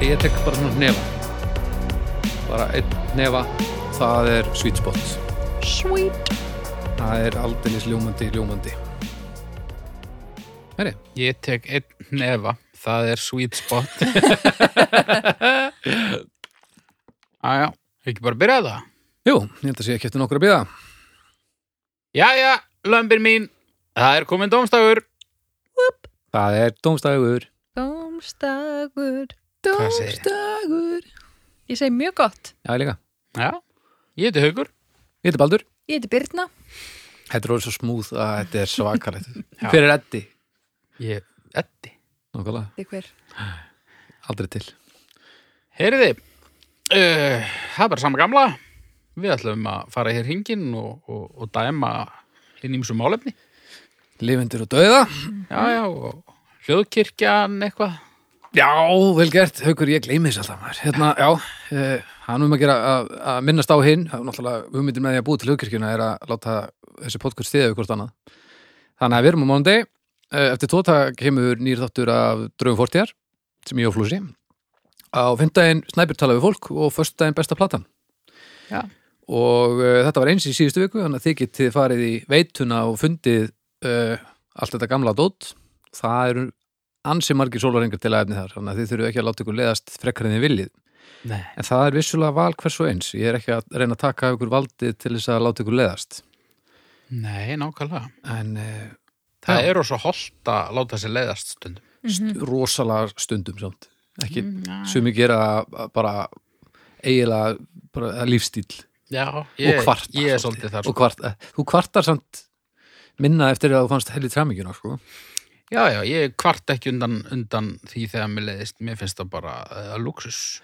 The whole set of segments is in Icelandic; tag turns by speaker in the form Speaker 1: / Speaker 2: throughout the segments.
Speaker 1: Ég tek bara svona hnefa Bara einn hnefa Það er sweet spot
Speaker 2: Sweet
Speaker 1: Það er aldeilis ljúmandi, ljúmandi Heri,
Speaker 3: Ég tek einn nefa, það er sweet spot. Æja, ekki bara byrja það.
Speaker 1: jú, ég held að sé ekki eftir nokkur að bíða
Speaker 3: Jæja, lömbin mín, það er komin dómstagur.
Speaker 1: Það er dómstægur
Speaker 2: Dómstagur
Speaker 3: Hvað segir
Speaker 2: Dómstagur Ég segi mjög gott
Speaker 1: Já, ég líka,
Speaker 3: Já, ég heiti Haugur.
Speaker 1: ég heiti Baldur
Speaker 2: Ég heiti Birna
Speaker 1: Þetta er orðið svo smúð að þetta er svakalegt
Speaker 3: Já.
Speaker 1: Hver er Eddi?
Speaker 3: Ég er Eddi.
Speaker 1: Nákvæmlega,
Speaker 2: Þið hver
Speaker 1: aldrei til
Speaker 3: Heyriði, uh, það er bara sama gamla. Við ætlum að fara hér hringin og, og, og dæma hinn ímsum málefni.
Speaker 1: Livendur og dauða
Speaker 3: Já, já, og hljóðkirkjan eitthvað.
Speaker 1: Já, vel gert, haukur, ég gleymi þess alltaf maður. Hérna, já, eh, hann um að gera að, að minnast á hinn, það er náttúrulega hugmyndin með því að búi til hugkirkjuna er að láta þessi podcast stiða við hvort annað. Þannig að við erum á mándi, eftir tóta kemur nýr þáttur af Draugum Fortíðar, sem ég og Flúsi. Á fymtdægin snæpir tala við fólk og föstudaginn besta platan.
Speaker 3: Já.
Speaker 1: Og uh, þetta var eins í síðustu viku, þannig að þið getið farið í veituna og fundið uh, allt þetta gamla dót. Það eru ansi margir sólarengar til aðefni þar þannig að þið þurfum ekki að láta ykkur leiðast frekkar en þið viljið
Speaker 3: Nei.
Speaker 1: en það er vissulega val hvers og eins ég er ekki að reyna að taka af ykkur valdið til þess að láta ykkur leiðast
Speaker 3: Nei, nákvæmlega.
Speaker 1: en eh,
Speaker 3: Það
Speaker 1: Já.
Speaker 3: er Mhm. ós og holt að láta sér leiðast stundum.
Speaker 1: rosalega stundum samt ekki,
Speaker 3: Mm, já.
Speaker 1: sumi gera að bara eiginlega bara, að lífstíl
Speaker 3: Já, ég,
Speaker 1: og kvartar
Speaker 3: ég er svolítið þar. sko.
Speaker 1: og kvarta, Eh, þú kvartar samt minna eftir að þú fannst helli træmingina sko.
Speaker 3: Já, já, ég kvart ekki undan, undan því þegar mér leiðist. Mér finnst það bara uh, luxus.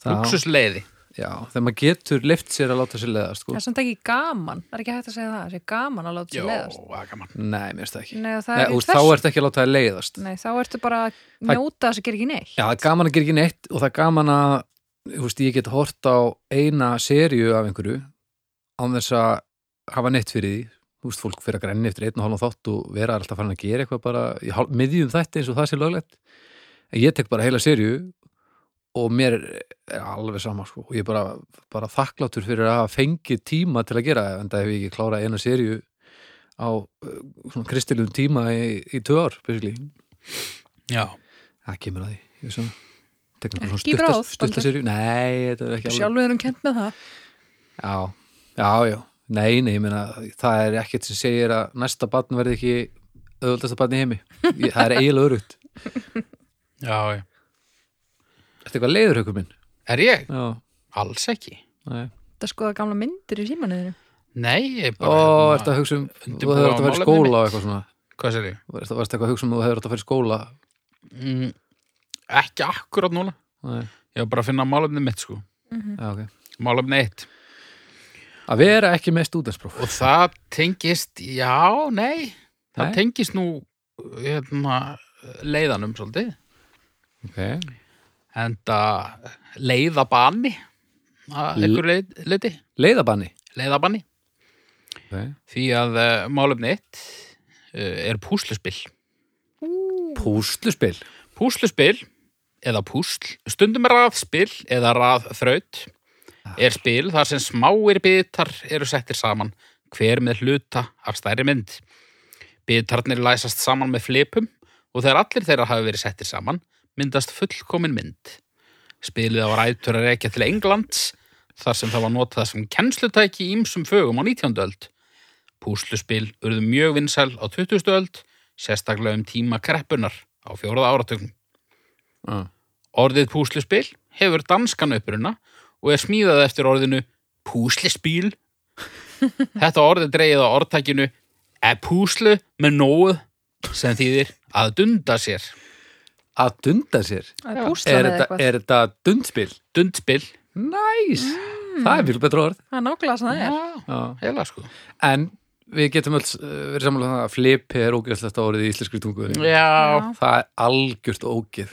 Speaker 1: það,
Speaker 3: Luxusleiði.
Speaker 1: já, þegar maður getur leift sér að láta sér leiðast sko.
Speaker 2: Það er samt ekki gaman Það er ekki hægt að segja það Það er gaman að láta sér leiðast
Speaker 3: það er gaman.
Speaker 1: nei, mér finnst það ekki
Speaker 2: Nei, og það
Speaker 1: Nei,
Speaker 2: er
Speaker 1: þú
Speaker 2: í
Speaker 1: veist, þá
Speaker 2: þess
Speaker 1: ertu ekki að láta það leiðast
Speaker 2: Nei, þá ertu bara að njóta þess að gera ekki neitt
Speaker 1: Já, það er gaman að gera ekki neitt og það er gaman að þú veist, ég get hort á eina seríu af einhverju án þess að hafa neitt fyrir því Þú veist, fólk fyrir að grenni eftir einn og hálfum þátt og vera alltaf farin að gera eitthvað bara í hál- miðjum þetta eins og það sé löglegt en ég tek bara heila seríu og mér er alveg sama sko. og ég er bara, bara þakklátur fyrir að hafa fengið tíma til að gera það en það hef ég ekki klárað eina seríu á uh, svona kristilum tíma í, í tvö ár, basically
Speaker 3: Já,
Speaker 1: Það kemur að því, ég veist það. Tekur
Speaker 2: Ekki
Speaker 1: bara
Speaker 2: í
Speaker 1: svona
Speaker 2: bráð,
Speaker 1: stutta, stutta
Speaker 2: Baldur.
Speaker 1: sérju. Nei, þetta er ekki alveg.
Speaker 2: Sjálfur erum kent með það
Speaker 1: Já, já, já. Nei, nei, ég meina, það er ekkert sem segir að næsta barn verði ekki öðvöldasta barn í heimi. Ég, það er eiginlega örugt.
Speaker 3: já, já.
Speaker 1: Þetta er eitthvað leiður haukur minn.
Speaker 3: Er ég?
Speaker 1: Já,
Speaker 3: Alls ekki.
Speaker 1: nei.
Speaker 2: Það skoða gamla myndir í símanuðinu
Speaker 3: Nei, ég er
Speaker 1: Ó,
Speaker 3: bara...
Speaker 1: ertu að hugsa um, þú
Speaker 3: undirbúa
Speaker 1: hefur átt að fara í
Speaker 3: málefni
Speaker 1: skóla
Speaker 3: mitt.
Speaker 1: og eitthvað svona.
Speaker 3: Hvað sér ég?
Speaker 1: Varstu varstu eitthvað að hugsa um að þú hefur átt að fara í skóla.
Speaker 3: Mm, ekki akkurat núna.
Speaker 1: Nei,
Speaker 3: Ég var bara að finna málefni mitt, sko.
Speaker 1: já, ok.
Speaker 3: Málefni eitt.
Speaker 1: Að vera ekki með stúdenspróf.
Speaker 3: Og það tengist, já, nei, það
Speaker 1: Nei?
Speaker 3: tengist nú hérna, leiðanum svolítið,
Speaker 1: Ok,
Speaker 3: en það leiðabanni, að
Speaker 1: L-
Speaker 3: einhver leit, leiti,
Speaker 1: leiðabanni.
Speaker 3: leiðabanni,
Speaker 1: Ok.
Speaker 3: því að uh, málefni eitt uh, er púsluspill.
Speaker 1: Púsluspil.
Speaker 3: Púsluspill eða púsl, stundum raðspill eða raðþraut er spil þar sem smáir bitar eru settir saman, hver með hluta af stærri mynd. Bitarnir læsast saman með flipum og þegar allir þeirra hafa verið settir saman, myndast fullkomin mynd. Spilið á rætur að rekja til Englands, þar sem það var notað sem kennslutæki í ýmsum fögum á 19. öld. Púsluspil urðu mjög vinsæl á 20. öld, sérstaklega um tíma kreppunar á fjóraða áratögnum.
Speaker 1: Já.
Speaker 3: Orðið púsluspil hefur danskan uppruna og er smíðað eftir orðinu púslispil. Þetta orðið dreigið á orðtakinu e púslu með nóð sem þýðir að dunda sér.
Speaker 1: Að dunda sér.
Speaker 2: Að
Speaker 3: Já.
Speaker 2: púsla
Speaker 1: Er
Speaker 2: með
Speaker 1: þetta,
Speaker 2: eitthvað
Speaker 1: er þetta dundspil?
Speaker 3: Dundspil.
Speaker 1: Næs, það er mjög betra orð
Speaker 2: Það er nákvæmlega sem það er
Speaker 3: Mm. Já, heila sko.
Speaker 1: En við getum öll uh, verið samanlega það að flipi er ógeðslegt orðið í íslenskri tungu
Speaker 3: Já, Mhm.
Speaker 1: Það er algjört ógeð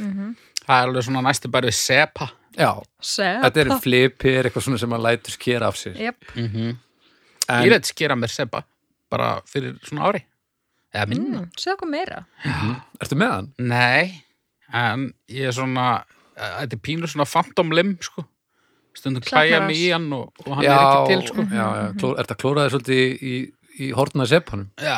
Speaker 3: það er alveg svona næstu bara við sepa.
Speaker 1: Já,
Speaker 2: Sepa
Speaker 1: þetta er flipi er eitthvað svona sem maður lætur skera af sér
Speaker 2: Jep,
Speaker 3: Mm Ég
Speaker 1: En
Speaker 3: veit skera mér sepa bara fyrir svona ári. Eða
Speaker 2: hmm,
Speaker 1: Hmm.
Speaker 3: minna.
Speaker 2: mm, segðu okkur meira
Speaker 1: ertu með hann?
Speaker 3: Nei, en ég er svona eh, þetta er pínur svona phantom limb sko. stundum
Speaker 2: Klapnar
Speaker 3: klæja
Speaker 2: hans.
Speaker 3: mig í hann og, og hann
Speaker 1: já,
Speaker 3: er ekki til sko.
Speaker 1: já, já, kló, Er þetta klóraði svolítið í, í, í hortna seppanum?
Speaker 3: já,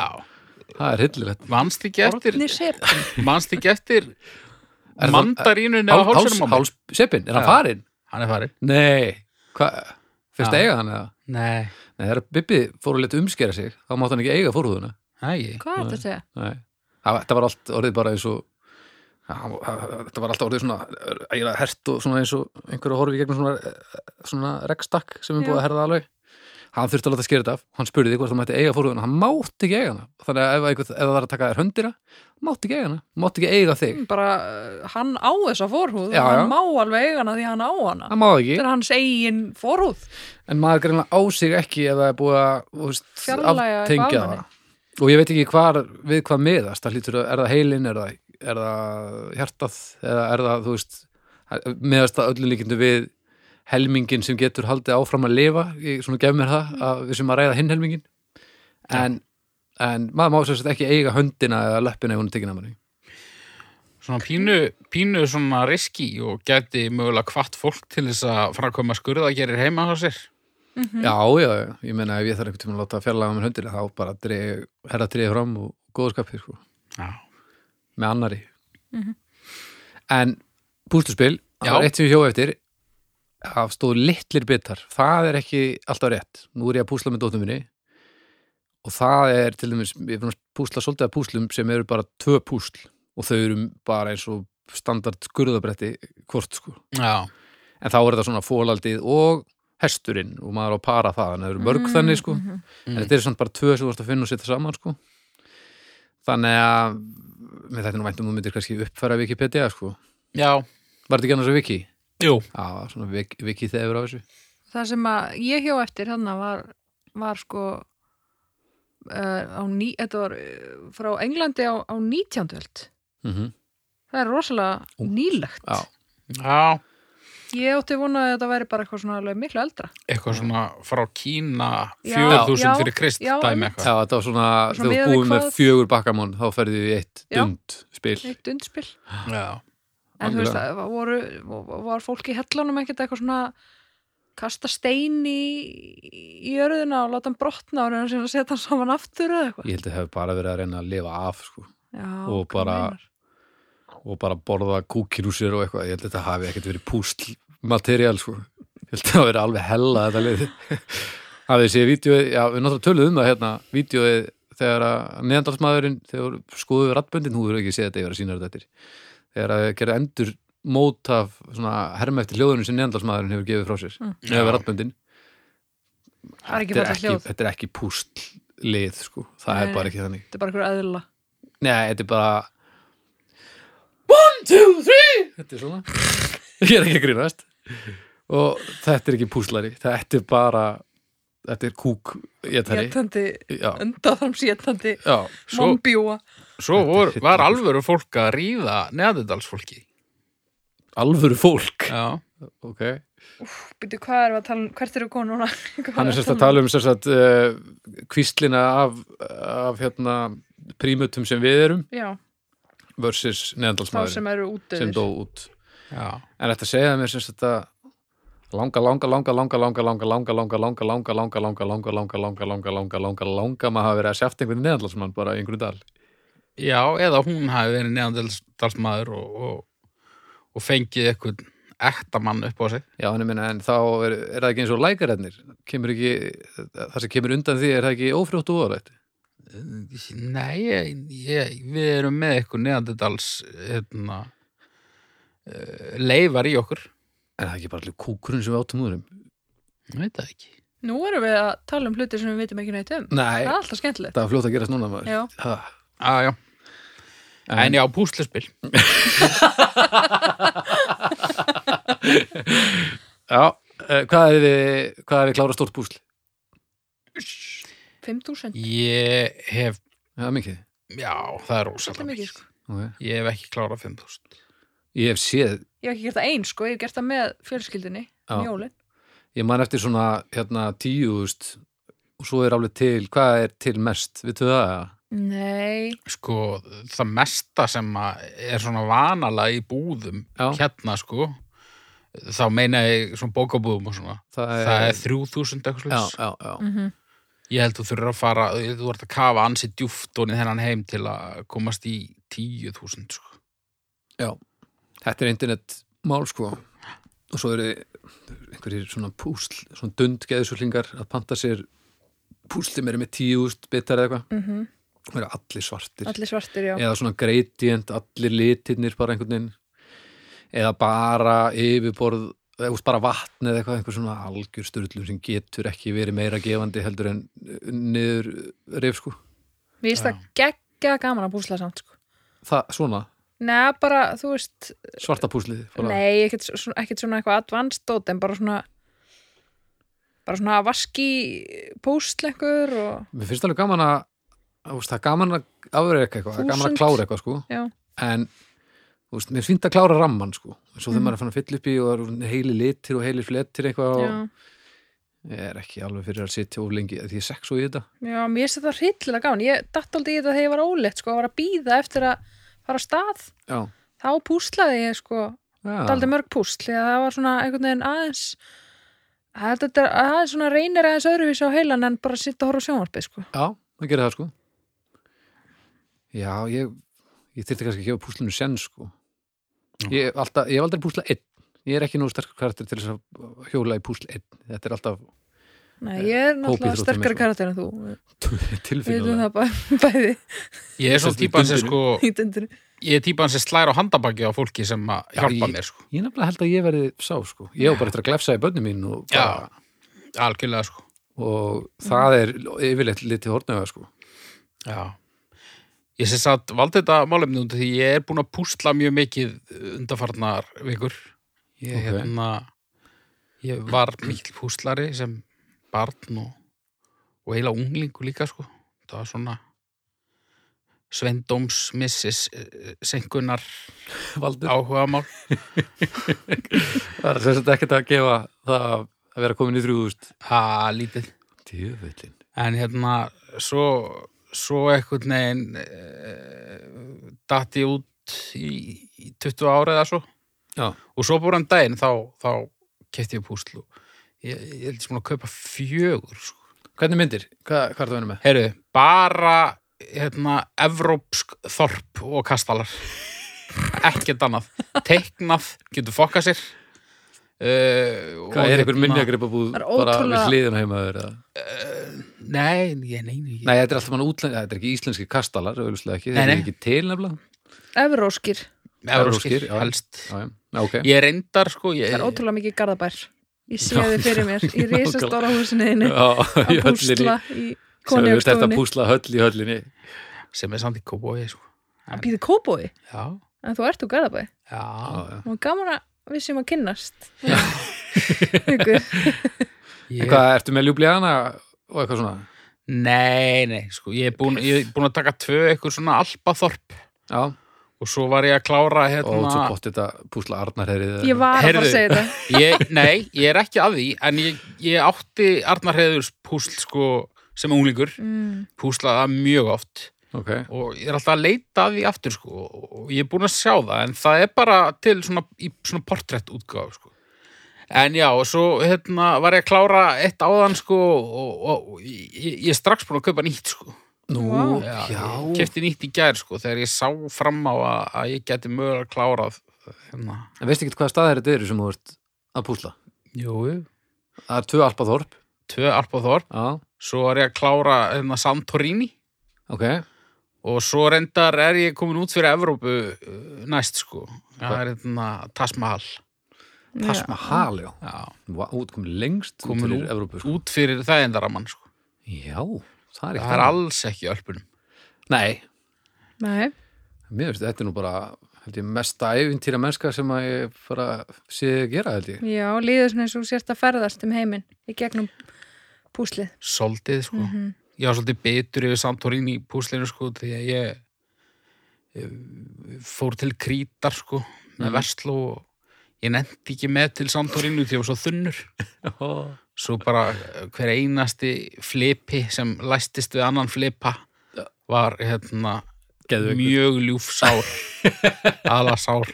Speaker 1: Það er hillilegt
Speaker 3: manst ekki eftir
Speaker 2: Orðnir sep
Speaker 3: manst ekki eftir
Speaker 1: Er það-
Speaker 3: mandarínunni á hálsinum á mér?
Speaker 1: háls, seppin, er hann
Speaker 3: Já.
Speaker 1: farinn?
Speaker 3: hann er farinn
Speaker 1: Nei, hvað, fyrst
Speaker 3: Já.
Speaker 1: eiga hann eða?
Speaker 3: nei,
Speaker 1: Nei, þegar Bibbi fór að leta umskera sig þá mátt hann ekki eiga fórhúðuna
Speaker 3: ægi
Speaker 2: Hvað er þetta að segja?
Speaker 1: Nei, það, þetta var allt orðið bara eins og það, þetta var allt orðið svona eiginlega hert og svona eins og einhverju horfi gegnum svona, eh, svona rekstakk sem er búið að
Speaker 2: Já.
Speaker 1: herða alveg hann þurfti að láta skera þetta af, hann spurði hvort það mætti eiga fórhúðuna, hann mátti ekki eiga hana þannig að ef, einhver, ef það var að taka þér höndina mátti ekki eiga hana, mátti ekki eiga þig
Speaker 2: Bara, uh, hann á þessa forhúð
Speaker 1: Já, já.
Speaker 2: Hann má alveg eiga hana því hann á hana
Speaker 1: það má ekki,
Speaker 2: Þetta er hans eigin forhúð
Speaker 1: en maður greinlega á sig ekki ef það er búið að þú veist,
Speaker 2: Fjarlægja eitthvað
Speaker 1: aftengja
Speaker 2: af manni.
Speaker 1: það og ég veit ekki hvar, við hvað miðast það hlýtur, að- er það heilin, er það, er það hjartað, eða er það þú veist, miðast það öllum líkindu við helmingin sem getur haldið áfram að lifa, ég svona gef mér það að við sem að ræða hinn helmingin en, en maður má sérst ekki eiga höndina eða löppina ef hún er tekin að manni
Speaker 3: svona pínu, pínu svona riski og geti mögulega kvart fólk til þess að framkvæma skurðagerir heima á sér
Speaker 2: Mhm.
Speaker 1: Já, já, já, ég meina ef ég þarf einhvern tímann að láta fjarlæga mér höndina þá bara dreg, herra dreg fram og góðskapir sko
Speaker 3: já,
Speaker 1: með annari en pústuspil það
Speaker 3: Já.
Speaker 1: var eitt sem ég hjó eftir það stóð litlir bitar það er ekki alltaf rétt nú er ég að púsla með dóttum minni og það er til dæmis ég er búin að púsla svolítið að púslum sem eru bara tvö púsl og þau eru bara eins og standard skurðabretti hvort sko
Speaker 3: já,
Speaker 1: en þá er þetta svona fólaldið og hesturinn og maður á að para það en það eru
Speaker 2: Mhm.
Speaker 1: mörg þannig sko
Speaker 3: Mm.
Speaker 2: Mm.
Speaker 1: en þetta er samt bara tvö sem þú vart að finna og setja saman sko. þannig að með þetta nú væntum þú myndir kannski uppfæra Wikipedia sko.
Speaker 3: já,
Speaker 1: var þetta ekki annars að Wiki?
Speaker 3: jú
Speaker 1: Já, svona Wiki, Wiki þegar á þessu
Speaker 2: Það sem að ég hjó eftir þarna var, var sko uh, á ný, þetta var uh, frá Englandi á, á 19. öld.
Speaker 1: mm -hmm.
Speaker 2: Það er rosalega
Speaker 1: Ungt.
Speaker 2: nýlegt.
Speaker 1: Já.
Speaker 3: já,
Speaker 2: Ég átti vona að þetta væri bara eitthvað svona alveg miklu eldra.
Speaker 3: eitthvað svona frá Kína
Speaker 2: Já,
Speaker 3: 4000
Speaker 2: já,
Speaker 3: fyrir krist
Speaker 2: já,
Speaker 3: dæmi
Speaker 2: einmitt.
Speaker 3: eitthvað
Speaker 1: Já, þetta var svona, þegar
Speaker 2: Svona
Speaker 1: þú
Speaker 2: miðað við
Speaker 1: búið með
Speaker 2: hvað-
Speaker 1: fjögur bakkamón þá ferðu í eitt
Speaker 2: Já.
Speaker 1: dund spil
Speaker 2: Eitt undspil.
Speaker 3: Já,
Speaker 2: En þú veist,
Speaker 1: Algjörlega.
Speaker 2: það var- voru, var fólk í hellanum ekkert eitthvað svona kasta stein í, í jörðina og láta hann brotna og reyna síðan að setja hann saman aftur eða eitthvað.
Speaker 1: Ég held að hefur bara verið að reyna að lifa af sko,
Speaker 2: Já,
Speaker 1: og
Speaker 2: hvað
Speaker 1: bara-
Speaker 2: meinar.
Speaker 1: og bara borða kúkirúsir og eitthvað, ég held að þetta hafi ekkert verið púsl materiál sko, ég held að það verið alveg hella þetta liði hafið séð vídeoið, já við náttúrulega töluðum það hérna, vídeoið þegar að neðandalsmaðurinn, þegar skoðum við rattböndin, hún verður ekki séð þetta, ég verður að sína þetta eftir þegar að gera endur mót af svona herma eftir hljóðunum sem neðandalsmaðurinn hefur gefið frá sér,
Speaker 2: Mm.
Speaker 1: eða við rattböndin
Speaker 2: Það er ekki
Speaker 1: þetta
Speaker 2: fallegt
Speaker 1: er
Speaker 2: hljóð.
Speaker 1: ekki, þetta er ekki púsl lið sko, það
Speaker 2: Nei.
Speaker 1: er bara ekki þannig
Speaker 2: Þetta er bara einhver eðla.
Speaker 1: Nei, þetta er bara One, two, three Þetta er svona Ég er ekki að grínast Og þetta er ekki púslari Þetta er bara Þetta er kúk étari
Speaker 2: Étandi,
Speaker 1: Já,
Speaker 2: undaþramsétandi,
Speaker 1: já
Speaker 3: Svo-
Speaker 2: mannbjúa.
Speaker 3: svo
Speaker 1: Þetta er
Speaker 3: vor,
Speaker 1: hryllilega.
Speaker 3: var alvöru fólk að ríða neðadalsfólki
Speaker 1: Alvöru fólk
Speaker 3: Já,
Speaker 1: Ok
Speaker 2: Býtu, hvað erum við að tala um? Hvert eru konu núna? Hvað
Speaker 1: Hann
Speaker 2: erum
Speaker 1: er
Speaker 2: við
Speaker 1: sérst að tala um sérst að uh, Kvíslina af, af hérna, Prímutum sem við erum
Speaker 2: Já,
Speaker 1: Versus
Speaker 2: þá
Speaker 1: neðandalsmaðurinn
Speaker 2: sem eru útöður.
Speaker 1: sem dó út
Speaker 3: já,
Speaker 1: En þetta segja mér sem þetta langa, langa, langa, langa, langa, langa, langa, langa, langa, langa, langa, langa, langa, langa, langa, langa, langa, langa, langa, maður hafa verið að sjáft einhvern neðanlandsmann bara í einhverju dal.
Speaker 3: já eða hún hafi verið neðadalsmaður og, og, og fengið eitthvað ektamann upp á sig
Speaker 1: Já, en ég minna, en þá er, er það ekki eins og lækarætnir, kemur ekki, það sem kemur undan því er það ekki ófrjótt og órætt.
Speaker 3: Nei, ég, ég, við erum með eitthvað neðadals hérna, eh, leifar í okkur
Speaker 1: En það er ekki bara allir kúkurinn sem við áttum úðurum.
Speaker 3: Ég veit það ekki
Speaker 2: Nú erum við að tala um hluti sem við vitum ekki neitt um.
Speaker 1: Nei,
Speaker 2: Það er alltaf skemmtilegt.
Speaker 1: það er fljótt að gerast núna maður.
Speaker 2: Já.
Speaker 1: Ha.
Speaker 3: ah, já. En
Speaker 1: En,
Speaker 3: já, púsluspil
Speaker 1: já, eh, hvað er við, hvað er við klára stórt búsl?
Speaker 2: 5.000.
Speaker 3: Ég hef,
Speaker 1: Það er mikið.
Speaker 3: já, það er
Speaker 2: Svolítið
Speaker 3: rosalega
Speaker 2: mikið,
Speaker 3: mikið
Speaker 2: sko.
Speaker 1: ok.
Speaker 3: Ég hef ekki klárað 5000
Speaker 1: Ég hef séð
Speaker 2: Ég hef ekki gert það einn, sko. Ég hef gert það með um fjölskyldinni,
Speaker 1: Já.
Speaker 2: mjólin.
Speaker 1: Ég man eftir svona hérna tíu, þú veist, og svo er alveg til, hvað er til mest, vittu það? eða?
Speaker 2: Nei,
Speaker 3: sko, það mesta sem að er svona vanalega í búðum
Speaker 1: Já.
Speaker 3: hérna, sko þá meina ég svona bókabúðum og svona
Speaker 1: það er,
Speaker 3: það er
Speaker 1: já,
Speaker 3: 3000 eitthvað
Speaker 1: já, já.
Speaker 2: mm
Speaker 3: ég held þú þurfir að fara, þú ert að kafa ansi djúft og niður hennan heim til að komast í 10.000 sko.
Speaker 1: þetta er internetmál sko og svo eru einhverjir svona púsl svona dund geðsúlingar að panta sér púsli meira með tíðust bitar eða eitthvað og eru allir svartir
Speaker 2: Mhm. allir svartir, já.
Speaker 1: eða svona gradient, allir litirnir bara einhvern veginn eða bara yfirborð eða þú veist, bara vatn eða eitthvað einhver svona algjör styrlum sem getur ekki verið meira gefandi heldur en eh, niður rif sko
Speaker 2: Mér finnst það geggja gaman að búsla samt, sko.
Speaker 1: það, svona,
Speaker 2: Nei, bara, þú veist,
Speaker 1: svarta púslið bara-
Speaker 2: nei, ekkert, svona- ekkert svona eitthvað advanced dót, en bara svona bara svona vaski póstlengur og
Speaker 1: Mér finnst alveg gaman að þú veist, það er gaman að afreika eitthvað, það er gaman að
Speaker 2: Þúsund.
Speaker 1: klára eitthvað sko
Speaker 2: Já.
Speaker 1: en þú veist, mér finnst að klára ramman sko svo
Speaker 2: Mm.
Speaker 1: þegar maður er fann að fylla upp í og það eru heili litir og heili fletir eitthvað og
Speaker 2: já,
Speaker 1: ég er ekki alveg fyrir að sitja of lengi því ég er sex og í þetta
Speaker 2: já, mér finnst það hryllilega gaman ég datt aldrei í þetta þegar ég var óleitt, sko, var að býða eftir að fara af stað
Speaker 1: Já,
Speaker 2: þá púslaði ég, sko, daldi mörg púsl því að það var svona einhvern veginn aðeins að þetta er aðeins svona reynir aðeins öðruvísi á heilan en bara að sitta og horfa á sjónvarpið sko.
Speaker 1: Já, það gerir það sko Já, ég ég þyrfti kannski að gefa púslinu senn sko ég, hef alltaf, ég hef aldrei púsla einn ég er ekki nógu sterkur karakter til þess að hjóla í púsl einn, þetta er alltaf
Speaker 2: Nei, ég er náttúrulega
Speaker 1: hópíþróttir
Speaker 2: sterkari
Speaker 1: miklu.
Speaker 2: karakter en þú við veitum
Speaker 1: tilfinnulega
Speaker 2: það bæ- bæði
Speaker 3: ég er
Speaker 1: Sest
Speaker 3: svona
Speaker 1: í
Speaker 3: típan sem
Speaker 1: dundinu.
Speaker 3: sko
Speaker 2: í dundinu
Speaker 3: ég er típan sem slær á handabaki á fólki sem að
Speaker 1: Já,
Speaker 3: hjálpa
Speaker 1: ég-
Speaker 3: mér sko.
Speaker 1: Ég nefnilega held að ég verði sá sko Ég hef bara eftir að glefsa í bönni mín og, bara,
Speaker 3: algjörlega sko.
Speaker 1: og það er yfirleitt litið hortnöga sko
Speaker 3: Já. Ég sem sagt valdi þetta málefni út af því ég er búin að púsla mjög mikið undarfarnar vikur. Ég,
Speaker 1: Ok.
Speaker 3: hérna, ég var mikil púslari sem barn og, og heila unglingu líka sko. Það var svona svendómsmissis eh, senkunar
Speaker 1: Valdur,
Speaker 3: áhuga mál.
Speaker 1: það er sem sagt ekkert að gefa það að vera komin í þrjúðust
Speaker 3: Það lítið.
Speaker 1: Djöfullin
Speaker 3: En hérna, svo, svo eitthvað neginn e, datt ég út í, í 20 ára eða svo.
Speaker 1: Já.
Speaker 3: Og svo búið hann daginn, þá, þá kefti ég púsl og ég, ég held sem að kaupa fjögur. Sko.
Speaker 1: Hvernig myndir? Hva, hvað er það að vinna með?
Speaker 3: Heyrðu, bara hérna, evrópsk þorp og kastalar. Ekkert annað. Teiknað, getur fokkað sér. Uh,
Speaker 1: Hvað er einhver minjagripabúð
Speaker 2: Það er
Speaker 1: bara
Speaker 2: ótrúlega-
Speaker 1: við hliðina heimaður eða?
Speaker 3: Nei, ég neini ekki.
Speaker 1: Nei, þetta er alltaf mann útlend, þetta er ekki íslenski kastalar, auðvitað ekki,
Speaker 3: Nei,
Speaker 1: þetta er
Speaker 3: nei.
Speaker 1: ekki til nefnilega.
Speaker 2: Evróskir,
Speaker 3: Evrópskir,
Speaker 1: evrópskir, já.
Speaker 3: helst.
Speaker 1: Já, já, Já, ok.
Speaker 3: Ég reyndar, sko, ég...
Speaker 2: það er ótrúlega mikið garðabær ég sé
Speaker 1: Eh, Já.
Speaker 2: þið fyrir mér í risastóra húsniðinu
Speaker 1: Já,
Speaker 2: að
Speaker 1: í höllinni,
Speaker 2: púsla
Speaker 1: sem
Speaker 2: í
Speaker 1: við þetta
Speaker 2: konjaugstofunni
Speaker 1: púsla höll í höllinni.
Speaker 3: sem er samt í kóbói sko.
Speaker 2: að býða kóbói,
Speaker 3: já,
Speaker 2: en þú ert úr garðabæ
Speaker 3: já,
Speaker 1: Já, já.
Speaker 2: og gaman að við séum að kynnast Ykkur.
Speaker 1: En
Speaker 3: Ég,
Speaker 1: hvað, ertu með ljúbliðana og eitthvað svona?
Speaker 3: nei, nei sko, ég er búin, ég er búin að taka tvö eitthvað svona alpaþorp
Speaker 1: Já,
Speaker 3: og svo var ég að klára
Speaker 1: og svo
Speaker 3: hérna
Speaker 1: gott þetta púsla Arnarherrið. eða-
Speaker 2: ég var að fara
Speaker 3: Heyrðu.
Speaker 2: að segja þetta
Speaker 3: ég, nei, ég er ekki að því en ég, ég átti Arnar Heiðurs púsl sko, sem unglingur
Speaker 2: mm.
Speaker 3: púslaða mjög oft
Speaker 1: Ok,
Speaker 3: og ég er alltaf að leita að því aftur sko, og ég er búin að sjá það en það er bara til svona, í svona portrætt útgáf sko. en já, og svo hérna, var ég að klára eitt áðan sko, og, og, og ég, ég er strax búin að kaupa nýtt sko.
Speaker 1: nú,
Speaker 2: Vá.
Speaker 1: já,
Speaker 3: ég kefti nýtt í gær sko, þegar ég sá fram á að, að ég geti mögulega klárað hérna.
Speaker 1: En veistu ekki hvaða staðir þetta eru sem þú ert að púsla?
Speaker 3: Jú, jú.
Speaker 1: Það er tvö alpaþorp,
Speaker 3: tvö Arpaþorp
Speaker 1: já,
Speaker 3: svo var ég að klára hérna, Santorini
Speaker 1: ok.
Speaker 3: og svo reyndar er ég komin út fyrir Evrópu uh, næst sko það er hérna Tasmahal
Speaker 1: Tass Mahal, já.
Speaker 3: já
Speaker 1: Vá, út komin lengst
Speaker 3: Komin
Speaker 1: út
Speaker 3: út-
Speaker 1: til Evrópu. Sko.
Speaker 3: út fyrir þægindaramann sko.
Speaker 1: Já, það er ekki
Speaker 3: það er
Speaker 1: þannig.
Speaker 3: alls ekki í ölpunum
Speaker 1: Nei,
Speaker 2: Nei,
Speaker 1: Mér finnst þetta er nú bara held ég, mesta eventýra mennska sem að ég bara sé gera held ég.
Speaker 2: já, líður svona eins og þú sért að ferðast um heiminn í gegnum púslið
Speaker 3: soldið sko. ég var svolítið betur yfir Santorini í púslinu sko, því að ég, ég fór til Krítar sko, með
Speaker 1: Mhm.
Speaker 3: mm. Vestló og ég nefndi ekki með til Santorini því ég var svo þunnur
Speaker 1: Oh.
Speaker 3: svo bara eh, hver einasti flipi sem læstist við annan flipa var hérna
Speaker 1: Geðveikur.
Speaker 3: mjög ljúfsár alasár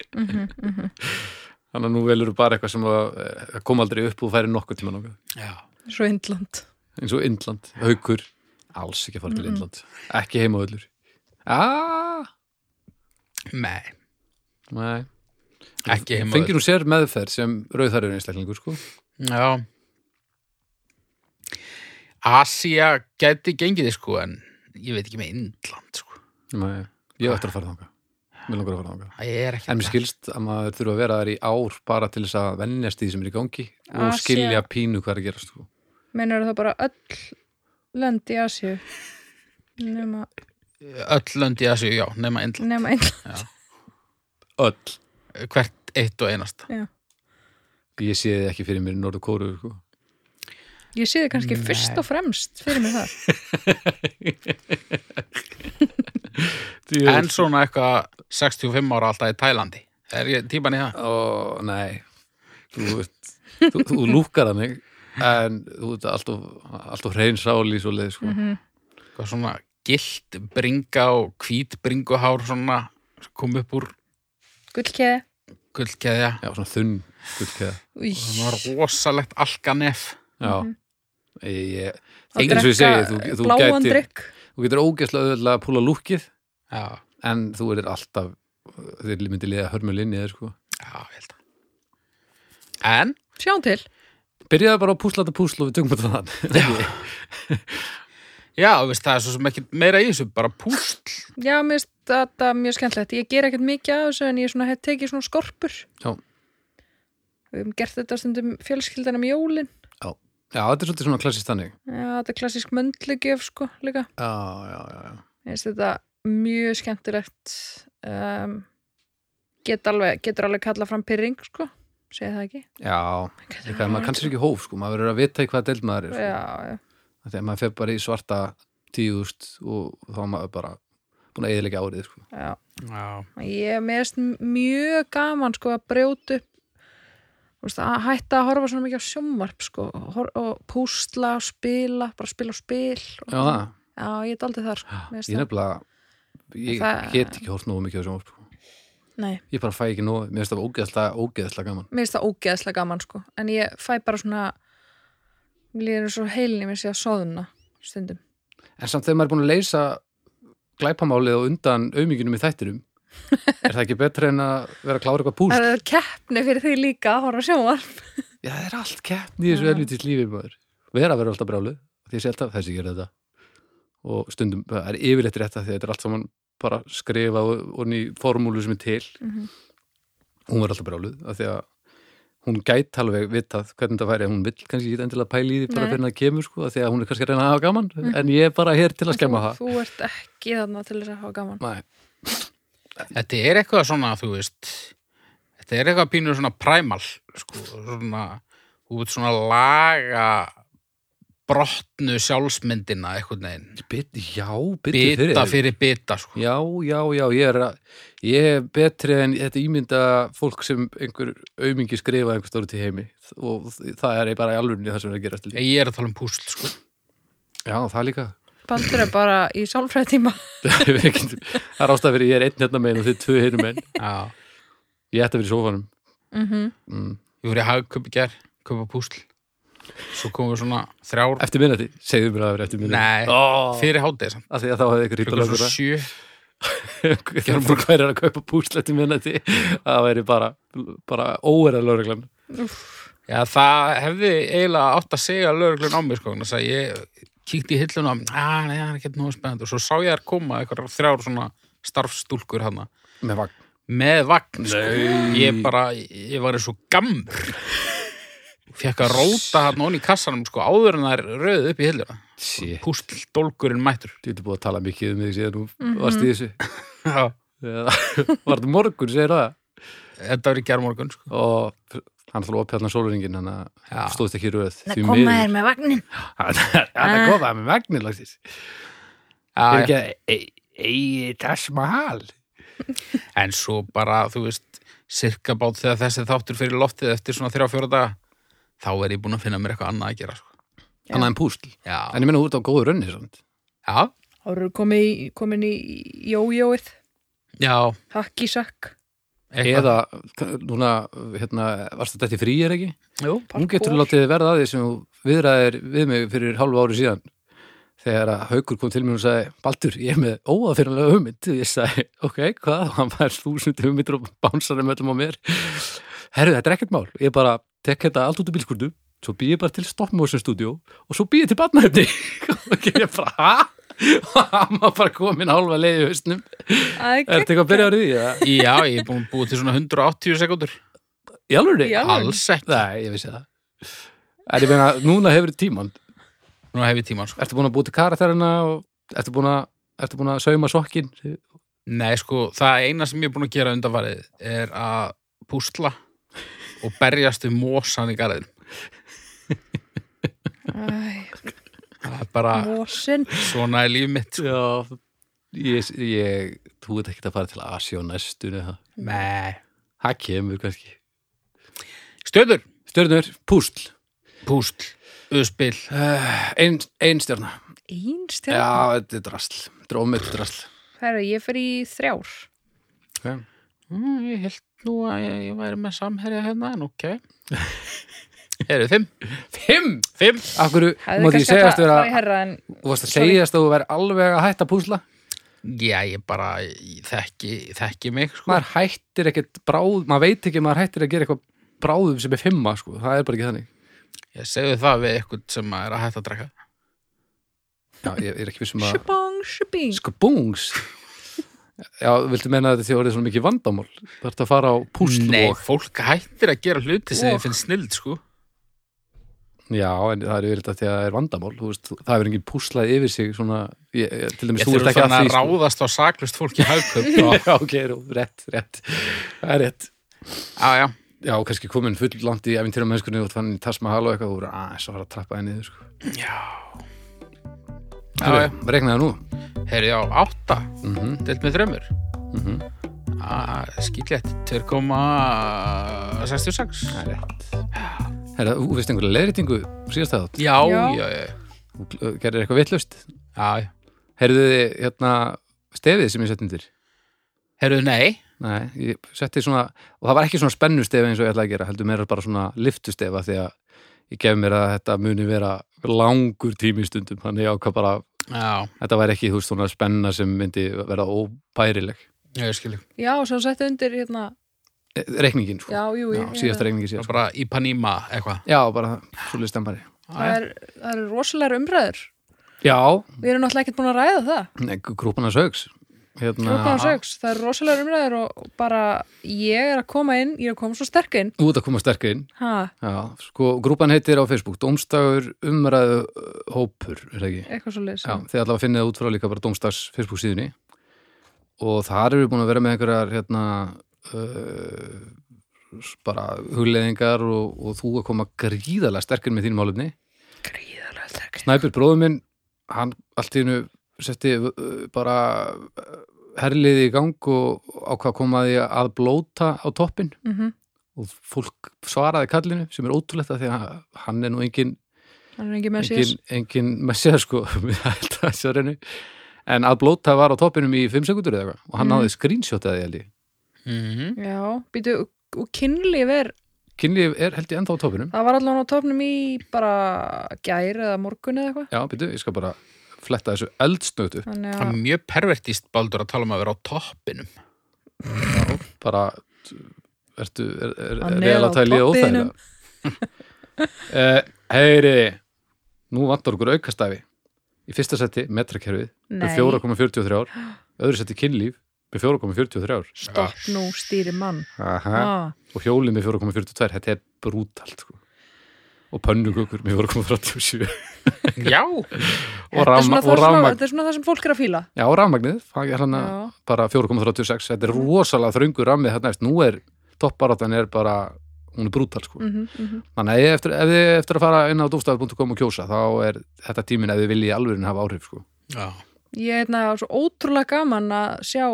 Speaker 1: Þannig að nú velur bara eitthvað sem að, að kom aldrei upp og færi nokkuð tíma nokkuð.
Speaker 3: já,
Speaker 2: Svo Indland.
Speaker 1: Eins og Indland, haukur, alls ekki að fara til
Speaker 2: Mm-mm.
Speaker 1: Indland. Ekki heima öllur. Ah,
Speaker 3: nei,
Speaker 1: nei.
Speaker 3: ekki heima
Speaker 1: Fengir hún sér meðferð sem rauðarur einstaklingur, sko.
Speaker 3: Já Asia gæti gengið sko en ég veit ekki með Indland sko.
Speaker 1: Nei, ég ætti að fara þangað. Mér langar að fara þangað.
Speaker 3: það er ekki
Speaker 1: En mér skilst að maður þurfa að vera þar í ár bara til þess að vennjast í því sem er í gangi og
Speaker 2: Asía.
Speaker 1: skilja pínu hvað er að gerast, sko.
Speaker 2: Meinar það bara öll lönd í Asíu? Nema,
Speaker 3: öll lönd í Asíu, já, nema Indland
Speaker 2: nema Indland.
Speaker 1: Öll.
Speaker 3: hvert eitt og einasta
Speaker 1: Ég sé þið ekki fyrir mér í Norður Kóru, sko.
Speaker 2: Ég sé þið kannski
Speaker 3: Nei.
Speaker 2: fyrst og fremst fyrir mig það.
Speaker 3: en svona eitthvað 65 ára alltaf í Tælandi er ég típan í það?
Speaker 1: Ó, nei Þú, ert, þú, þú lúkar að mig en þú ert alltof, alltof hrein sál í svo leið sko.
Speaker 2: Mhm.
Speaker 3: Hvað svona gilt bringa og hvít bringuhár svona sem kom upp úr
Speaker 2: Gullkeði.
Speaker 3: gullkeðja
Speaker 1: Já, svona þunn gullkeða
Speaker 2: Új.
Speaker 3: og það var rosalegt alkanef
Speaker 1: Já,
Speaker 2: Mhm.
Speaker 1: ég, ég, eins
Speaker 2: Að
Speaker 1: og ég
Speaker 2: drekka
Speaker 1: segi þú, þú,
Speaker 2: bláan
Speaker 1: gætir,
Speaker 2: drykk.
Speaker 1: þú getur ógeðslega auðvitað að púla lúkið
Speaker 3: já,
Speaker 1: en þú er alltaf þeir myndi liða hörmulinni eða sko
Speaker 3: já, ég held að en
Speaker 2: Sjáum til.
Speaker 1: Byrjaðu bara að púsla þetta púsl og við tökum þetta þann
Speaker 3: já, þú veist, það er svo sem ekki meira í þessu bara púsl
Speaker 2: Já, mér finnst þetta mjög skemmtilegt. Ég ger ekkert mikið af þessu en ég svona hef tekið svona skorpur.
Speaker 1: Já.
Speaker 2: Við hefum gert þetta stundum fjölskyldanum í jólin.
Speaker 1: Já, þetta er svolítið svona klassist þannig
Speaker 2: Já, þetta er klassísk möndlugjöf sko líka.
Speaker 1: Já, já, já, já.
Speaker 2: Mér finnst þetta mjög skemmtilegt. Um, get alveg, getur alveg kallað fram pyrring sko. Segði það ekki?
Speaker 1: Já, líka að maður kannski er ekki hóf sko, maður verður að vita í hvaða deild maður er sko.
Speaker 2: Já, já.
Speaker 1: þegar maður fer bara í svarta tíðust og þá er maður bara búin að eðilega árið sko.
Speaker 2: já.
Speaker 3: já,
Speaker 2: Ég meðist mjög gaman sko að brjóta upp þú veist, að hætta að horfa svona mikið á sjónvarp sko hor- og púsla og spila, bara spila og spil
Speaker 1: Já,
Speaker 2: og
Speaker 1: það,
Speaker 2: Já, ég er daldið þar sko Mér finnst
Speaker 1: ég
Speaker 2: það-
Speaker 1: nefnilega ég
Speaker 2: Það-
Speaker 1: get ekki hórt nógu mikið á sjónvarp sko.
Speaker 2: Nei,
Speaker 1: ég bara fæ ekki nógu, mér finnst það ógeðslega, ógeðslega gaman
Speaker 2: mér finnst það ógeðslega gaman sko en ég fæ bara svona líður svo heilinni mér sé að soðuna stundum
Speaker 1: en samt þegar maður er búin að leysa glæpamálið og undan auðmyggjunum í þættinum er það ekki betra en að vera að klára eitthvað púst
Speaker 2: Það er keppni fyrir því líka að horfa á sjónvarp
Speaker 1: já, það er allt keppni í þessu
Speaker 2: Já.
Speaker 1: elvitist lífi maður vera að vera alltaf brjáluð, því ég sé alltaf þessi gerir þetta og stundum, það er yfirleitt rétt að því að þetta er allt saman bara skrifa og, og ný formúlu sem er til hún var alltaf bráluð af því að hún gæti alveg vitað hvernig það væri en hún vill kannski ekki endilega pæli í því bara
Speaker 2: Nei.
Speaker 1: fyrir að það kemur sko af því að hún er kannski að reyna að hafa gaman en ég er bara hér til Mhm. að skemma
Speaker 2: þú,
Speaker 1: það
Speaker 2: þú ert ekki þarna til þess að hafa gaman
Speaker 1: Nei,
Speaker 3: Þetta er eitthvað svona, þú veist Þetta er eitthvað pínur svona primal sko, svona þú veit svona laga brotnu sjálfsmyndina eitthvað neginn,
Speaker 1: bit, já, bita fyrir,
Speaker 3: bita fyrir bita sko.
Speaker 1: Já, já, já, ég er, að, ég er betri en þetta ímynda fólk sem einhver aumingi skrifa einhver stóri til heimi og það er bara í alvörunni það sem er að gera til
Speaker 3: Ég er að tala um púsl sko.
Speaker 1: Já, það líka
Speaker 2: Baldur er bara í sálfræðtíma
Speaker 1: Það er ekki- það er ástæð fyrir ég er einn hérna megin og þið tvö hérna megin
Speaker 3: Já,
Speaker 1: Ég ætti að vera í sofanum
Speaker 2: mm
Speaker 1: mm.
Speaker 3: ég voru í hagköp í gær köpa púsl svo komum við svona þrjár
Speaker 1: Eftir minnati, segðu mér að það vera eftir minnati
Speaker 3: Nei,
Speaker 1: oh.
Speaker 3: fyrir hátið samt
Speaker 1: að því að þá hefði ykkur
Speaker 3: Klukkan
Speaker 1: hýttalögur
Speaker 3: svona sjö
Speaker 1: þegar maður hver er að kaupa púsletti minnati það væri bara, bara óerða lögreglan
Speaker 3: Já, það hefði eiginlega átt að segja lögreglun á mig, sko, þannig að ég kíkti í hilluna, að nei, það er ekki nógu spennandi og svo sá ég þær koma eitthvað þrjár svona starfstúlkur hana
Speaker 1: með vagn
Speaker 3: með vagn, sko
Speaker 1: Nei.
Speaker 3: ég bara, ég var eins og gammur fekk að róta hann onni í kassanum, sko, áður en það er rauð upp í hilluna,
Speaker 1: Shit,
Speaker 3: pústldólkurinn mættur
Speaker 1: þú ertu búið að tala mikið um því síðan þú varst í þessu
Speaker 3: Já,
Speaker 1: Eða- var þetta morgun, segir það
Speaker 3: þetta var í gærmorgun, sko
Speaker 1: og hann ætlaði að opjálna sólringin hann
Speaker 3: Já.
Speaker 1: að stóðst ekki í röð því
Speaker 2: Koma
Speaker 1: miður.
Speaker 2: þér með vagnin
Speaker 1: hann er Ah. hann er komað með vagnin lagsis er
Speaker 3: Ah, Já,
Speaker 1: ekki að e- eigi Tash Mahal
Speaker 3: en svo bara, þú veist sirka bát þegar þessi þáttur fyrir loftið eftir svona þrjá, fjóra daga þá er ég búin að finna mér eitthvað annað að gera, sko
Speaker 1: hann er en púsl
Speaker 3: Já,
Speaker 1: en ég meina þú ert á góðu rönni samt
Speaker 3: já,
Speaker 2: og eru komin í, komin í jójóið,
Speaker 3: Já,
Speaker 2: hakkisakk
Speaker 3: eitthvað.
Speaker 1: eða, k- núna, hérna, varst þetta í frí er ekki?
Speaker 3: Jú.
Speaker 1: Nú getur þú látið verða að því sem þú viðraðir við mig fyrir hálfu ári síðan þegar að Haukur kom til mér og sagði Baldur, ég er með óaðfyrirlega hugmynd og ég sagði, ok, hvað? og hann fær þúsund hugmyndir og bánsar um öllum á mér herru, þetta er ekkert mál ég bara tek þetta allt út af bílskurdu svo býð ég bara til stoppmósum stúdíó og svo býð ég til batnahefni og ég bara, hæ? og hann var bara komin hálfa leið í hausnum er þetta eitthvað að byrja árið í? eða?
Speaker 3: Já, ég er búin að búið til svona 180 sekundur.
Speaker 1: Í alvöru?
Speaker 2: Í alvöru?
Speaker 3: Alls ekki.
Speaker 1: Nei, ég vissi það En ég meina, núna hefur tíman
Speaker 3: Nú hef ég tíma, sko.
Speaker 1: Ertu búin að búti karakterina og ertu búin að, ertu búin að sauma sokkin
Speaker 3: Nei, sko, það eina sem ég er búin að gera undanfarið er að púsla og berjast við mósan í garðin.
Speaker 2: Æ,
Speaker 3: Það er bara
Speaker 2: mósin
Speaker 3: svona í líf mitt. sko.
Speaker 1: Já Ég, ég þú veit ekki að fara til Asi og næstunni það
Speaker 3: Nei.
Speaker 1: Það kemur kannski
Speaker 3: Stöður,
Speaker 1: Stjörnur, púsl
Speaker 3: púsl, uðspil,
Speaker 1: uh, Ein, ein stjörna
Speaker 2: Einstjörn,
Speaker 1: Já, þetta er drasl Drómið drasl
Speaker 2: herra, ég fer í þrjár
Speaker 1: okay.
Speaker 3: Mm, ég held nú að ég, ég væri með samherja hérna, en ok. Eru fimm?
Speaker 1: Fimm
Speaker 3: Fimm?
Speaker 1: Af hverju,
Speaker 2: Hefði
Speaker 1: má því
Speaker 2: kannski átt
Speaker 1: segjast
Speaker 2: að
Speaker 1: vera
Speaker 2: fara í herra en
Speaker 1: Þú varst að
Speaker 2: Sorry.
Speaker 1: segjast að þú væri alveg að hætta að púsla
Speaker 3: Já, ég bara ég þekki, þekki mig, sko.
Speaker 1: maður hættir ekkert bráð, maður veit ekki að maður hættir að gera eitthvað bráðum sem er fimma, sko, það er bara ekki þannig
Speaker 3: Ég segðu það við eitthvað sem að er að hætta að drekka.
Speaker 1: Já, ég ég er ekki vissum að
Speaker 2: Shabong, shabing
Speaker 1: skabungs Sko, Já, viltu menna þetta því að orðið svona mikið vandamál Það ert að fara á
Speaker 3: Nei,
Speaker 1: púslvog
Speaker 3: fólk hættir að gera hluti sem
Speaker 2: Og.
Speaker 3: þið finnst snild, sko.
Speaker 1: Já, en það er yfir þetta því að það er vandamál þú veist, það hefur engin púslað yfir sig svona, ég, ég, til dæmis
Speaker 3: Ég
Speaker 1: þú ert
Speaker 3: þurfum
Speaker 1: ekki
Speaker 3: þannig
Speaker 1: að
Speaker 3: að
Speaker 1: því sko.
Speaker 3: ráðast á saklust fólk í haugköp og
Speaker 1: Já, ok, rú, rétt, rétt Það er rétt
Speaker 3: Já, já,
Speaker 1: Já, kannski komin full langt í eventýra mennskunni og þannig tasma hala og eitthvað þú eru aðeins að fara að trappa henni sko.
Speaker 3: já, já.
Speaker 1: Herru, Regnaði nú
Speaker 3: Herri á átta,
Speaker 1: mm
Speaker 3: delt með Ah, þrömmur.
Speaker 1: Mhm.
Speaker 3: Skýtlegt, 2,66.
Speaker 1: Það er rétt. Herra, þú veist einhverja leiðrýtingu síðast að þátt.
Speaker 3: Já, já,
Speaker 2: Já.
Speaker 3: já, já.
Speaker 1: Þú uh, gerir eitthvað vittlust.
Speaker 3: já.
Speaker 1: Herðu þið hérna stefið sem ég sett undir?
Speaker 3: Herru, nei,
Speaker 1: Nei, ég setti svona, og það var ekki svona spennustefi eins og ég ætlaði að gera, heldur meira bara svona liftustefa því að ég gef mér að þetta muni vera langur tími í stundum, þannig ég ákvað bara,
Speaker 3: já,
Speaker 1: þetta væri ekki þú veist svona spenna sem myndi verða óbærileg.
Speaker 3: já, ég skilju.
Speaker 2: Já, svo settu undir hérna
Speaker 1: Eh, Reikningin, sko.
Speaker 2: Já, jú,
Speaker 1: Já,
Speaker 2: ég-
Speaker 1: síðasta reikningi
Speaker 3: Það
Speaker 1: síðast.
Speaker 3: er bara í Panima eitthvað.
Speaker 1: Já, bara svolítið stemmari.
Speaker 2: það er, það er rosalega umræður
Speaker 1: Já,
Speaker 2: Við erum náttúrulega ekkert búin að ræða það
Speaker 1: grúpana sögs. Hérna,
Speaker 2: Klukkan sögs, það er rosalega umræður og og bara ég er að koma inn, ég er að koma svo sterk inn.
Speaker 1: Þú ert að koma sterkur inn.
Speaker 2: Ha,
Speaker 1: Já, sko, grúpan heitir á Facebook Dómstagur umræðu uh, hópur, er það ekki?
Speaker 2: eitthvað svo leiðis.
Speaker 1: Já, þið allavega finnið það út frá líka bara Dómstags Facebook síðunni og þar eru við búin að vera með einhverjar hérna uh, bara hugleðingar og, og þú að koma gríðalega sterkur með þínum álefni.
Speaker 2: Gríðarlega sterk inn.
Speaker 1: Snæpur bróður minn, hann allt í hennu setti uh, bara uh, herliði í gang og ákvað komaði að blóta á toppin
Speaker 2: Mm
Speaker 1: og fólk svaraði kallinu sem er ótrúlegt að því að hann er nú engin
Speaker 2: Hann er ekki með síðast.
Speaker 1: engin, engin messið sko við held að þessu reynu en að blóta var á toppinum í 5 sekundur eða eitthvað og hann
Speaker 2: Mm.
Speaker 1: náði screenshot eða ég held ég
Speaker 3: Mhm.
Speaker 2: Já, býtu, og- og kynlíf er,
Speaker 1: kynlíf er held ég ennþá á toppinum
Speaker 2: það var allan á topnum í bara gær eða morgun eða eitthvað.
Speaker 1: já, byrju, ég skal bara fletta þessu eldsnötu
Speaker 2: Þannig
Speaker 3: Það er
Speaker 2: að,
Speaker 3: mjög pervertist baldur að tala um að vera á toppinum.
Speaker 1: bara ertu, er, er,
Speaker 2: Hann
Speaker 1: er
Speaker 2: er
Speaker 1: reyðal
Speaker 2: á
Speaker 1: að tæli
Speaker 2: toppinum.
Speaker 1: óþægilega uh, heyri nú vantar okkur aukastæfi í fyrsta seti metrakerfið
Speaker 2: nei,
Speaker 1: með 4,43 öðru seti kynlíf með 4,43
Speaker 2: stopp nú stýri mann.
Speaker 1: Aha.
Speaker 2: Ha,
Speaker 1: og hjólið með 4,42 þetta er brútalt sko. og pönnugukur með 4,37
Speaker 3: Já,
Speaker 1: og,
Speaker 2: þetta er
Speaker 1: rafma,
Speaker 2: svona
Speaker 1: og
Speaker 2: það svona-
Speaker 1: rafmagn
Speaker 2: þetta er svona það sem fólk er að fíla.
Speaker 1: já, rafmagnið, það er hann að
Speaker 2: Já,
Speaker 1: bara 4,36, þetta er rosalega þröngur rammið þarna eftir, nú er topparáttan er bara, hún er brútal sko.
Speaker 2: mhm, mhm.
Speaker 1: þannig að ef, eftir, ef þið eftir að fara inn á dófstafur.com og kjósa, þá er þetta tíminn ef þið viljið í alvörinu hafa áhrif sko.
Speaker 3: já.
Speaker 2: Ég er hérna svo ótrúlega gaman að sjá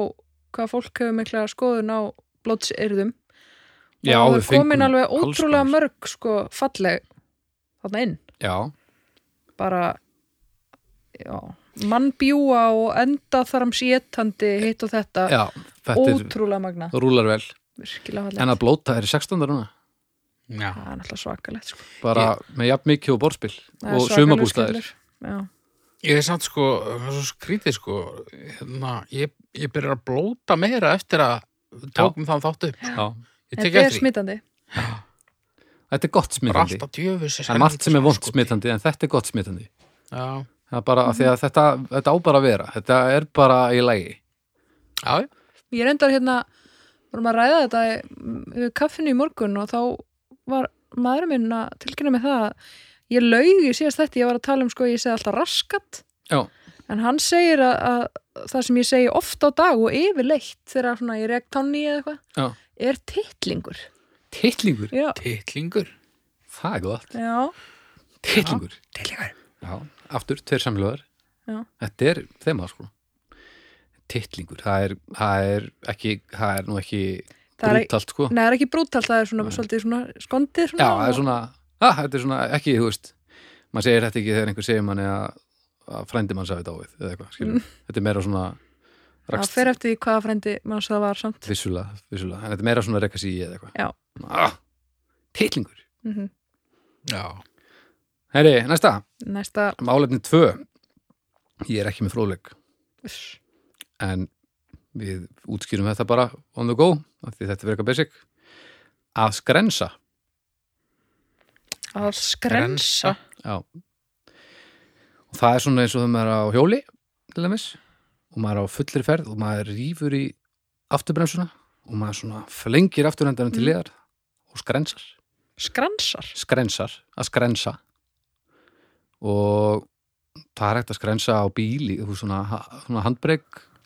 Speaker 2: hvað fólk hefur mikla skoðun á blótsyrðum.
Speaker 1: já, við
Speaker 2: og það er komin
Speaker 1: fengum
Speaker 2: alveg
Speaker 1: alls
Speaker 2: ótrúlega
Speaker 1: konar.
Speaker 2: mörg sko falleg þarna inn
Speaker 1: já,
Speaker 2: bara já, mann bjúa og enda þar um sétandi hitt og þetta,
Speaker 1: Já, þetta er,
Speaker 2: ótrúlega magna
Speaker 1: rúlar vel
Speaker 2: virkilega
Speaker 1: En
Speaker 2: fallegt,
Speaker 1: að blóta er í 16. núna
Speaker 3: Já.
Speaker 2: það er náttúrulega svakalegt sko.
Speaker 1: Bara með jafn mikið og borðspil
Speaker 2: Það er
Speaker 1: Og
Speaker 2: svakalegur
Speaker 1: sumabústæðir
Speaker 2: skellur. Já.
Speaker 3: Ég er samt sko, það er svo skrítið sko, hérna, ég, ég byrjar að blóta meira eftir að við tókum þann þáttu.
Speaker 1: Já.
Speaker 3: Ég tek
Speaker 2: þetta er
Speaker 3: eftir því,
Speaker 2: smitandi
Speaker 1: Þetta er gott
Speaker 3: bara
Speaker 1: smitandi
Speaker 3: alltaf djöfus.
Speaker 1: Það er margt sem er vond smitandi en þetta er gott smitandi
Speaker 3: sko. Já,
Speaker 1: Það er bara af
Speaker 2: Mhm.
Speaker 1: því að þetta, þetta á bara að vera Þetta er bara í lagi
Speaker 3: já, já.
Speaker 2: ég reyndar hérna vorum að ræða þetta í- við kaffinu í morgun og þá var maður minn að tilkynna mig það að ég laug í síðast þetta, ég var að tala um sko ég segi alltaf raskat
Speaker 1: Já,
Speaker 2: en hann segir að, að það sem ég segi oft á dag og yfirleitt þegar svona ég rekt tanni eða eitthvað
Speaker 1: já
Speaker 2: er titlingur
Speaker 1: Tittlingur,
Speaker 2: já,
Speaker 3: Tittlingur.
Speaker 1: það er gott
Speaker 2: já,
Speaker 1: Tittlingur,
Speaker 3: Tittlingur.
Speaker 1: já, aftur, tveir samlöðar
Speaker 2: Já.
Speaker 1: Þetta er þema sko Tittlingur, það er, það er ekki, það er nú ekki
Speaker 2: Það er-
Speaker 1: brútalt sko
Speaker 2: Nei, það er ekki brútalt, það er svona svolítið svona skondið svona,
Speaker 1: Já, það er svona, að, þetta er svona ekki, þú veist, maður segir þetta ekki þegar einhver segir manni að, að frændi mann sagði dáið eða eitthvað, skilur, þetta er meira svona
Speaker 2: Mm. það
Speaker 1: rakst
Speaker 2: fer eftir því hvaða frendi manns það var samt
Speaker 1: vissulega, vissulega, en þetta er meira svona rekka sig í eða eitthvað.
Speaker 2: Já.
Speaker 1: Ah, titlingur.
Speaker 2: mm
Speaker 3: Já.
Speaker 1: Herri, næsta,
Speaker 2: næsta
Speaker 1: málefni tvö, ég er ekki með fróðleik,
Speaker 2: uss,
Speaker 1: en við útskýrum þetta bara on the go, af því þetta er verið basic, að skrensa.
Speaker 2: að skrensa
Speaker 1: Já. Og það er svona eins og þegar maður er á hjóli, til dæmis, og maður er á fullri ferð og maður rýfur í afturbremsuna og maður svona flengir afturhendanum til
Speaker 2: Mm.
Speaker 1: liðar og skrensar.
Speaker 2: skransar
Speaker 1: Skrensar, að skrensa. Og það er hægt að skrensa á bíli, þú veist, svona, ha- svona handbreyk,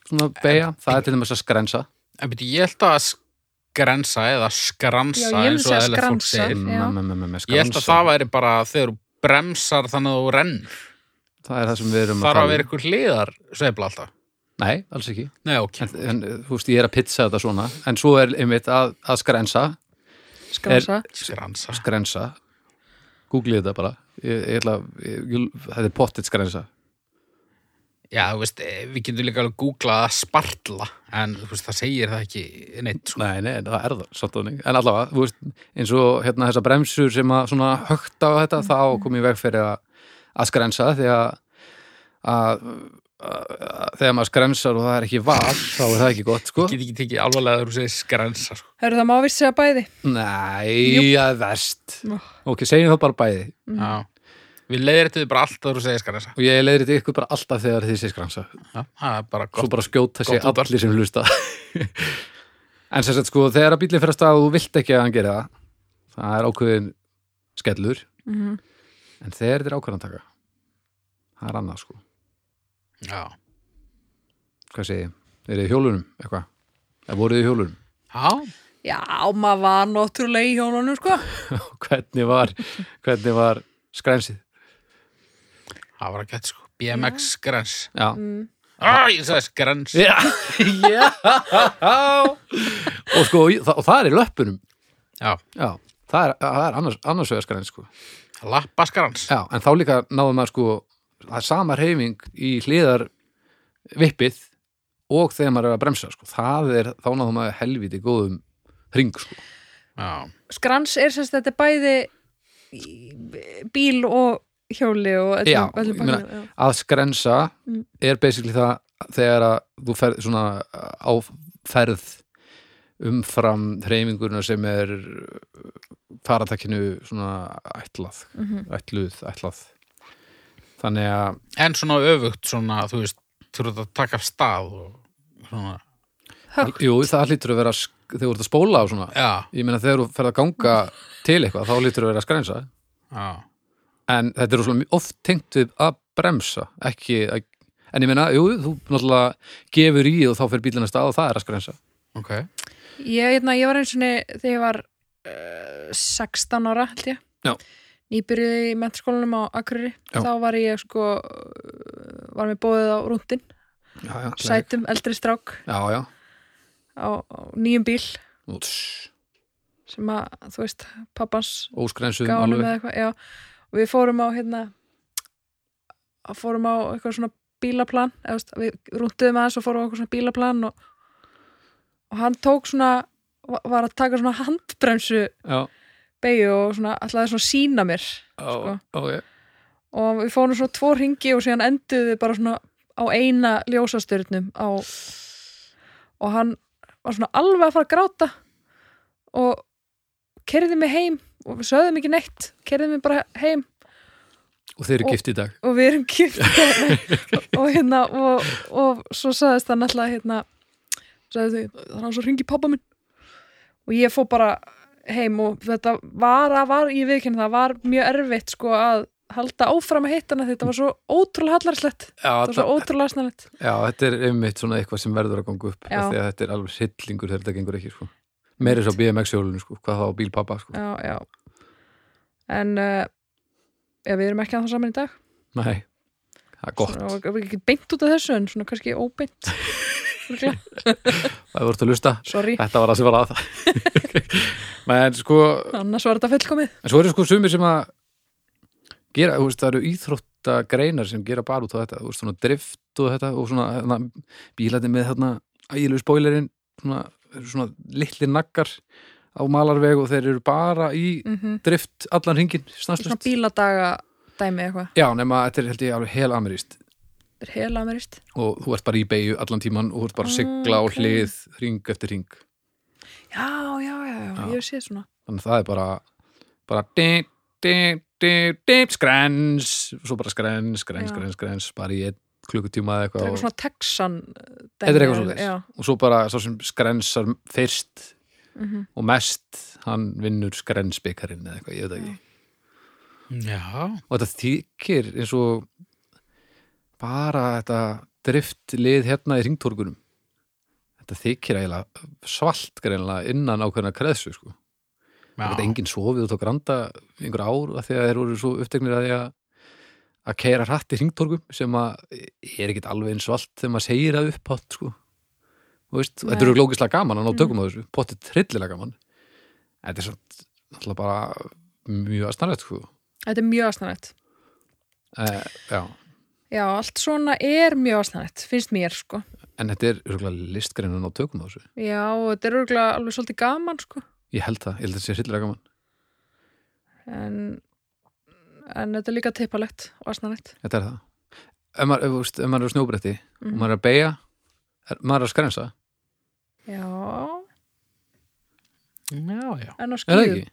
Speaker 1: svona beja, það er til dæmis að skrensa.
Speaker 3: En byrju, ég held að skrensa eða skransa
Speaker 2: Já, ég myndi
Speaker 3: eins og
Speaker 2: segja
Speaker 3: eðlilegt fólk
Speaker 2: skransa.
Speaker 3: segir.
Speaker 2: Já.
Speaker 1: Me, me, me, me,
Speaker 3: Ég held að það væri bara þegar þú bremsar þannig að þú rennur.
Speaker 1: það er það sem við erum
Speaker 3: Þarf
Speaker 1: um.
Speaker 3: að vera ykkur hliðar sveifla alltaf.
Speaker 1: Nei, alls ekki.
Speaker 3: Nei, ok.
Speaker 1: En, en þú veist, ég er að pizza þetta svona, en svo er einmitt að, að skrensa,
Speaker 2: skransa
Speaker 3: Skransa.
Speaker 1: skrensa googlið þetta bara ég, ég ætla, að- ég, ég, þetta er pottet skrensa
Speaker 3: Já, þú veist, eh, við getum líka alveg googlað að spartla, en þú veist, það segir það ekki neitt, sko.
Speaker 1: nei, nei, en það er það, samt og þannig. en allavega, þú veist, eins og hérna þessar bremsur sem að svona högt á þetta þá kom ég veg fyrir að, að skrensa því að, að, að, að þegar maður skrensar og það er ekki val, þá er það ekki gott sko
Speaker 3: Ég get ekki tekið alvarlega þegar þú segir skransa, sko.
Speaker 2: Hörru, það má vist segja bæði.
Speaker 1: nei, það er verst
Speaker 2: Ná.
Speaker 1: ok, segjum það bara bæði
Speaker 3: Já. Við leiðir þetta bara allt þegar þú segir skransa.
Speaker 1: og ég leiðir þetta ykkur bara alltaf þegar þið sé skrensa
Speaker 3: Já, það er bara
Speaker 1: svo
Speaker 3: gott.
Speaker 1: bara skjóta sig
Speaker 3: gott útvarp.
Speaker 1: allir sem hlusta en sem sagt sko þegar að bílinn fyrir að stað og þú vilt ekki að hann gera það það er ákveðin skellur en þegar þetta er ákveðan taka það er annað sko,
Speaker 3: Já.
Speaker 1: hvað segi ég eru þið í hjólunum eitthvað eða voruð þið í hjólunum
Speaker 3: Já.
Speaker 2: Já, maður var náttúrulega í hjólunum, sko.
Speaker 1: hvernig var, hvernig var skrensið
Speaker 3: Það var að gett, sko. BMX skrans.
Speaker 1: já,
Speaker 3: Á, Ah, ég sagði skrans.
Speaker 1: já, já. og sko og það, og það er í löppunum
Speaker 3: Já.
Speaker 1: já, það er, það er annars, annars vegar skrens sko
Speaker 3: Lappa skrans.
Speaker 1: Já, en þá líka náðum maður sko það er sama reyfing í hliðar vippið og þegar maður er að bremsa sko. það er, þá náðum maður helviti góðum hring sko.
Speaker 3: Já.
Speaker 2: Skrans er semst þetta er bæði í- bíl og hjóli og öllum,
Speaker 1: Já,
Speaker 2: öllum
Speaker 1: ég meina-
Speaker 2: bæðum, já.
Speaker 1: að skrensa
Speaker 2: Mm.
Speaker 1: er basically það þegar að þú ferð svona á ferð umfram reyfingurna sem er faratakinu svona ætlað, ætluð, ætlað þannig að
Speaker 3: En svona öfugt, svona, þú veist, þú veist að taka af stað og svona.
Speaker 2: Högt.
Speaker 1: jú, það hlýtur að vera sk- þegar þú ert að spóla á svona
Speaker 3: Já.
Speaker 1: Ég meina þegar þú ferð að ganga til eitthvað þá lítur þú að vera að skrænsa
Speaker 3: Já.
Speaker 1: en þetta er rosalega mjög oft tengt við að bremsa ekki að, en ég meina, jú, þú náttúrulega gefur í og þá fer bílinn að stað og það er að skrænsa
Speaker 3: Ok.
Speaker 2: Ég, hérna, ég var eins og niður þegar ég var uh, 16 ára, held ég.
Speaker 1: Já.
Speaker 2: Nýbyrjuði í mentaskólanum á Akureyri.
Speaker 1: Já.
Speaker 2: Þá var ég sko, uh, var mér bóðið á rúndin,
Speaker 1: Já, já,
Speaker 2: sætum eldri strák
Speaker 1: já, já.
Speaker 2: á, á nýjum bíl
Speaker 1: Úts,
Speaker 2: sem að, þú veist, pappans
Speaker 1: óskrænsuðum alveg
Speaker 2: gáðum eða eitthvað, já og við fórum á hérna að fórum á eitthvað svona bílaplan eða, þú veist, við rúnduðum aðeins og fórum á okkur svona bílaplan og, og hann tók svona va- var að taka svona handbremsu
Speaker 1: já,
Speaker 2: beigju og svona, alltaf svona sína mér
Speaker 1: já, ok.
Speaker 2: og við fórum svona tvo ringi og síðan enduðu við bara svona á eina ljósastörnum á, og hann var svona alveg að fara að gráta og kerði mig heim og við sögðum ekki neitt kerði mig bara heim
Speaker 1: og þeir eru
Speaker 2: Og-
Speaker 1: gift í dag
Speaker 2: og við erum gift og hérna og, og svo sagðist hann alltaf hérna sagði þau, það er hann svo ringi pappa minn og ég fó bara heim og þetta var að var ég viðkynna það var mjög erfitt sko að halda áfram að hitta hana þetta var svo ótrúlega hallarslegt
Speaker 1: já,
Speaker 2: þetta var svo ótrúlega snarlegt
Speaker 1: já, þetta er einmitt svona eitthvað sem verður að ganga upp
Speaker 2: Já.
Speaker 1: af því að þetta er alveg sillingur þegar þetta gengur ekki sko. meiri svo BMX-hjólinu, sko, hvað þá á bílpappa sko.
Speaker 2: já, já en uh, já, við erum ekki að það saman í dag
Speaker 1: nei, það er gott
Speaker 2: og við ekki beint út af þessu en svona kannski óbeint Örugglega.
Speaker 1: það voru að lusta,
Speaker 2: sorry,
Speaker 1: þetta var það sem var að menn sko
Speaker 2: annars var þetta fullkomið
Speaker 1: en svo eru sko sumir sem að gera, þú veist, það eru íþróttagreinar sem gera bara út á þetta, þú veist, svona drift og þetta og svona hana, bílarnir með þarna ægilegu spoilerinn svona, svona litli naggar á malarveg og þeir eru bara í
Speaker 2: mm
Speaker 1: drift allan ringin
Speaker 2: svona
Speaker 1: stanslust.
Speaker 2: bíladaga dæmi eitthvað,
Speaker 1: Já, nema þetta er held ég alveg hel ameríst
Speaker 2: þetta er heila amerist
Speaker 1: og þú ert bara í beigju allan tíman og þú ert bara að sigla
Speaker 2: Ah,
Speaker 1: á
Speaker 2: ok.
Speaker 1: hlið ring eftir ring
Speaker 2: já, já, já, já,
Speaker 1: Já.
Speaker 2: ég hef séð svona
Speaker 1: þannig að það er bara bara ding, ding, ding, ding, skrens svo bara skrens, skrens,
Speaker 2: Já.
Speaker 1: skrens, skrens bara í einn klukkutíma eða
Speaker 2: þetta
Speaker 1: eitthvað
Speaker 2: er eitthvað
Speaker 1: og,
Speaker 2: svona Texan
Speaker 1: Þetta er eitthvað svoleiðis.
Speaker 2: já,
Speaker 1: og svo bara svo sem skrensar fyrst
Speaker 2: mm
Speaker 1: og mest hann vinnur skrensbyggarinn eða eitthvað, ég veit það ekki
Speaker 3: Já.
Speaker 1: og þetta þykir eins og bara þetta driftlið hérna í ringtorgunum þetta þykir eiginlega svalt greinlega innan ákveðna kreðsu sko.
Speaker 3: Já.
Speaker 1: þetta enginn sofið út á granda einhver ár af því að þeir voru svo uppteknir að því að að keira hratt í ringtorgum sem að er ekkit alveg eins svalt þegar maður segir það upp átt sko. Þú veist,
Speaker 2: Nei.
Speaker 1: þetta eru glókislega gaman að ná
Speaker 2: Mm.
Speaker 1: tökum á þessu pottið trillilega gaman þetta er samt alltaf bara mjög aðstæðlega sko.
Speaker 2: þetta er mjög aðstæðanett
Speaker 1: eh, já
Speaker 2: já, allt svona er mjög aðstæðanett finnst mér, sko
Speaker 1: En þetta er örgulega listgreinin á tökum á þessu.
Speaker 2: já, og þetta er örgulega alveg svolítið gaman, sko
Speaker 1: Ég held það, ég held að þetta sé hryllilega gaman.
Speaker 2: en, en þetta er líka teipalegt og aðstæðanett
Speaker 1: Þetta er það. Ef maður, ef, þú veist, ef maður er á snjóbretti
Speaker 2: Mhm.
Speaker 1: og maður er að beigja, er, maður er að skrensa,
Speaker 2: já,
Speaker 3: Já, já.
Speaker 2: en á
Speaker 1: er það
Speaker 2: skýðum
Speaker 1: ekki?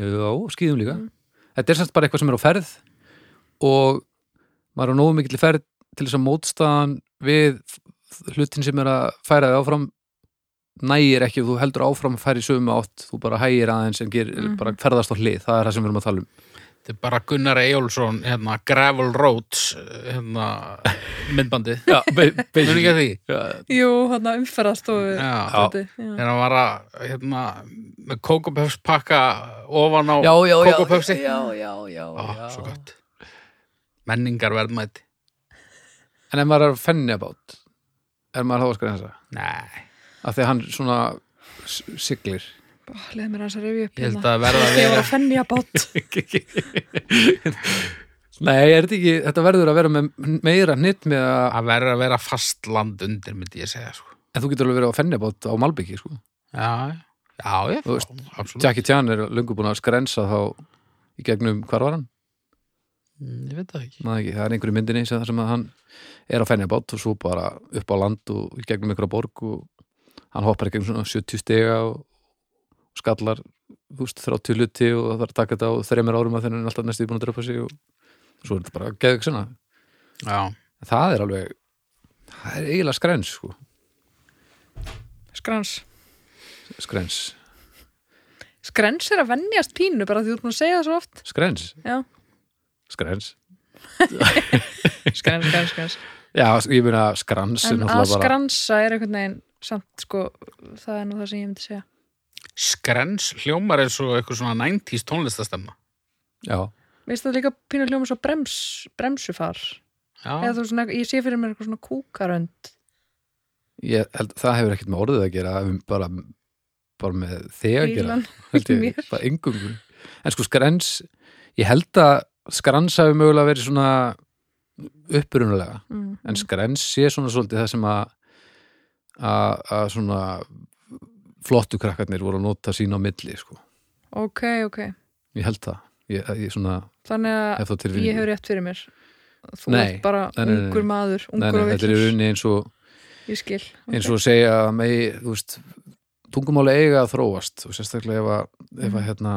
Speaker 1: Jú, skýðum líka.
Speaker 2: Mm.
Speaker 1: Þetta er samt bara eitthvað sem er á ferð og maður er á nógu mikill ferð til þess að mótstaðan við hlutin sem er að færa þig áfram nægir ekki, þú heldur áfram að færa í sömu átt, þú bara hægir aðeins en ger,
Speaker 2: Mhm.
Speaker 1: bara ferðast á hlið, það er það sem við erum að tala um.
Speaker 3: Þetta er bara Gunnar Eyjólfsson, hérna, Gravel Roads, hérna, myndbandið.
Speaker 1: Já, be, be,
Speaker 3: Muni ekki að því?
Speaker 2: jú, þarna umferðastofu
Speaker 3: Já.
Speaker 2: dótið, já.
Speaker 3: Þegar hann var að, hérna, með kókupöfs pakka ofan á
Speaker 1: já, já, já, Ah,
Speaker 3: kókupöfsi.
Speaker 1: já, já, já,
Speaker 3: Ó,
Speaker 1: já.
Speaker 3: svo gott. Menningar verðmæti.
Speaker 1: En ef maður er fenni að bát er maður þá að skrensa
Speaker 3: Nei,
Speaker 1: af því að hann svona s- siglir
Speaker 2: Ó, leið mér hans að rifja upp
Speaker 3: ég held
Speaker 2: hérna.
Speaker 3: að verða að
Speaker 2: ég var
Speaker 3: vera.
Speaker 2: að fennja bát
Speaker 1: Nei, er þetta ekki, þetta verður að vera með meira hnitt með að,
Speaker 3: Að verða að vera fastland undir, myndi ég segja, sko.
Speaker 1: en þú getur alveg verið á fenni að bát á Malbyggi, sko.
Speaker 3: Já, já. Já, já,
Speaker 1: Þú veist,
Speaker 3: absolutt.
Speaker 1: Jackie Chan er löngu búin að skrensa þá í gegnum, hvar var hann?
Speaker 3: Mm, Ég veit það ekki.
Speaker 1: Maður ekki, það er einhverju myndinni sem, sem að hann er á fenni að bát og svo bara upp á land og í gegnum einhverja borg og hann hoppar í gegnum svona 70 stega og skallar þú veist, 30 luti og það er að taka þetta á þreymir árum að þennan er alltaf næstu búin að drepa sig og svo er þetta bara geðvik svona
Speaker 3: Já.
Speaker 1: það er alveg það er eiginlega skrens sko.
Speaker 2: skrans
Speaker 1: skrens,
Speaker 2: Skrens er að vennjast pínu bara því þú ert búin að segja það svo oft.
Speaker 1: skrens,
Speaker 2: Já,
Speaker 1: skrens
Speaker 2: skrens, skrens, skrens.
Speaker 1: já, ég meina skrans er
Speaker 2: En að
Speaker 1: náttúrulega bara-
Speaker 2: skransa er einhvern veginn samt sko, það er nú það sem ég myndi segja.
Speaker 3: Skrens hljómar eins og eitthvað svona 90s tónlistastemma.
Speaker 1: já,
Speaker 2: Veist það líka pínu hljóma svo brems, bremsufar? Eða
Speaker 3: Já,
Speaker 2: þú veist svona, ég sé fyrir mér eitthvað svona kúkarönd.
Speaker 1: ég held það hefur ekkert með orðið að gera það hefur bara, bara með þig að gera
Speaker 2: Bílan.
Speaker 1: held ég,
Speaker 2: Mér.
Speaker 1: bara engungu en sko skrens, ég held að skrans hafi mögulega verið svona upprunulega
Speaker 2: mm,
Speaker 1: en skrens sé svona svolítið það sem að að að svona flottu krakkarnir voru að nota sín á milli sko.
Speaker 2: ok, ok
Speaker 1: ég held það ég, ég svona
Speaker 2: þannig að
Speaker 1: hef það til
Speaker 2: ég hef rétt fyrir mér þú
Speaker 1: Nei,
Speaker 2: ert bara
Speaker 1: nei, nei, nei.
Speaker 2: ungur maður
Speaker 1: nei,
Speaker 2: ungur
Speaker 1: nei,
Speaker 2: og
Speaker 1: þetta er í
Speaker 2: villur,
Speaker 1: rauninni eins og,
Speaker 2: ég skil
Speaker 1: eins og að segja að megi, þú veist, tungumáli eiga að þróast og sérstaklega ef að, ef að hérna,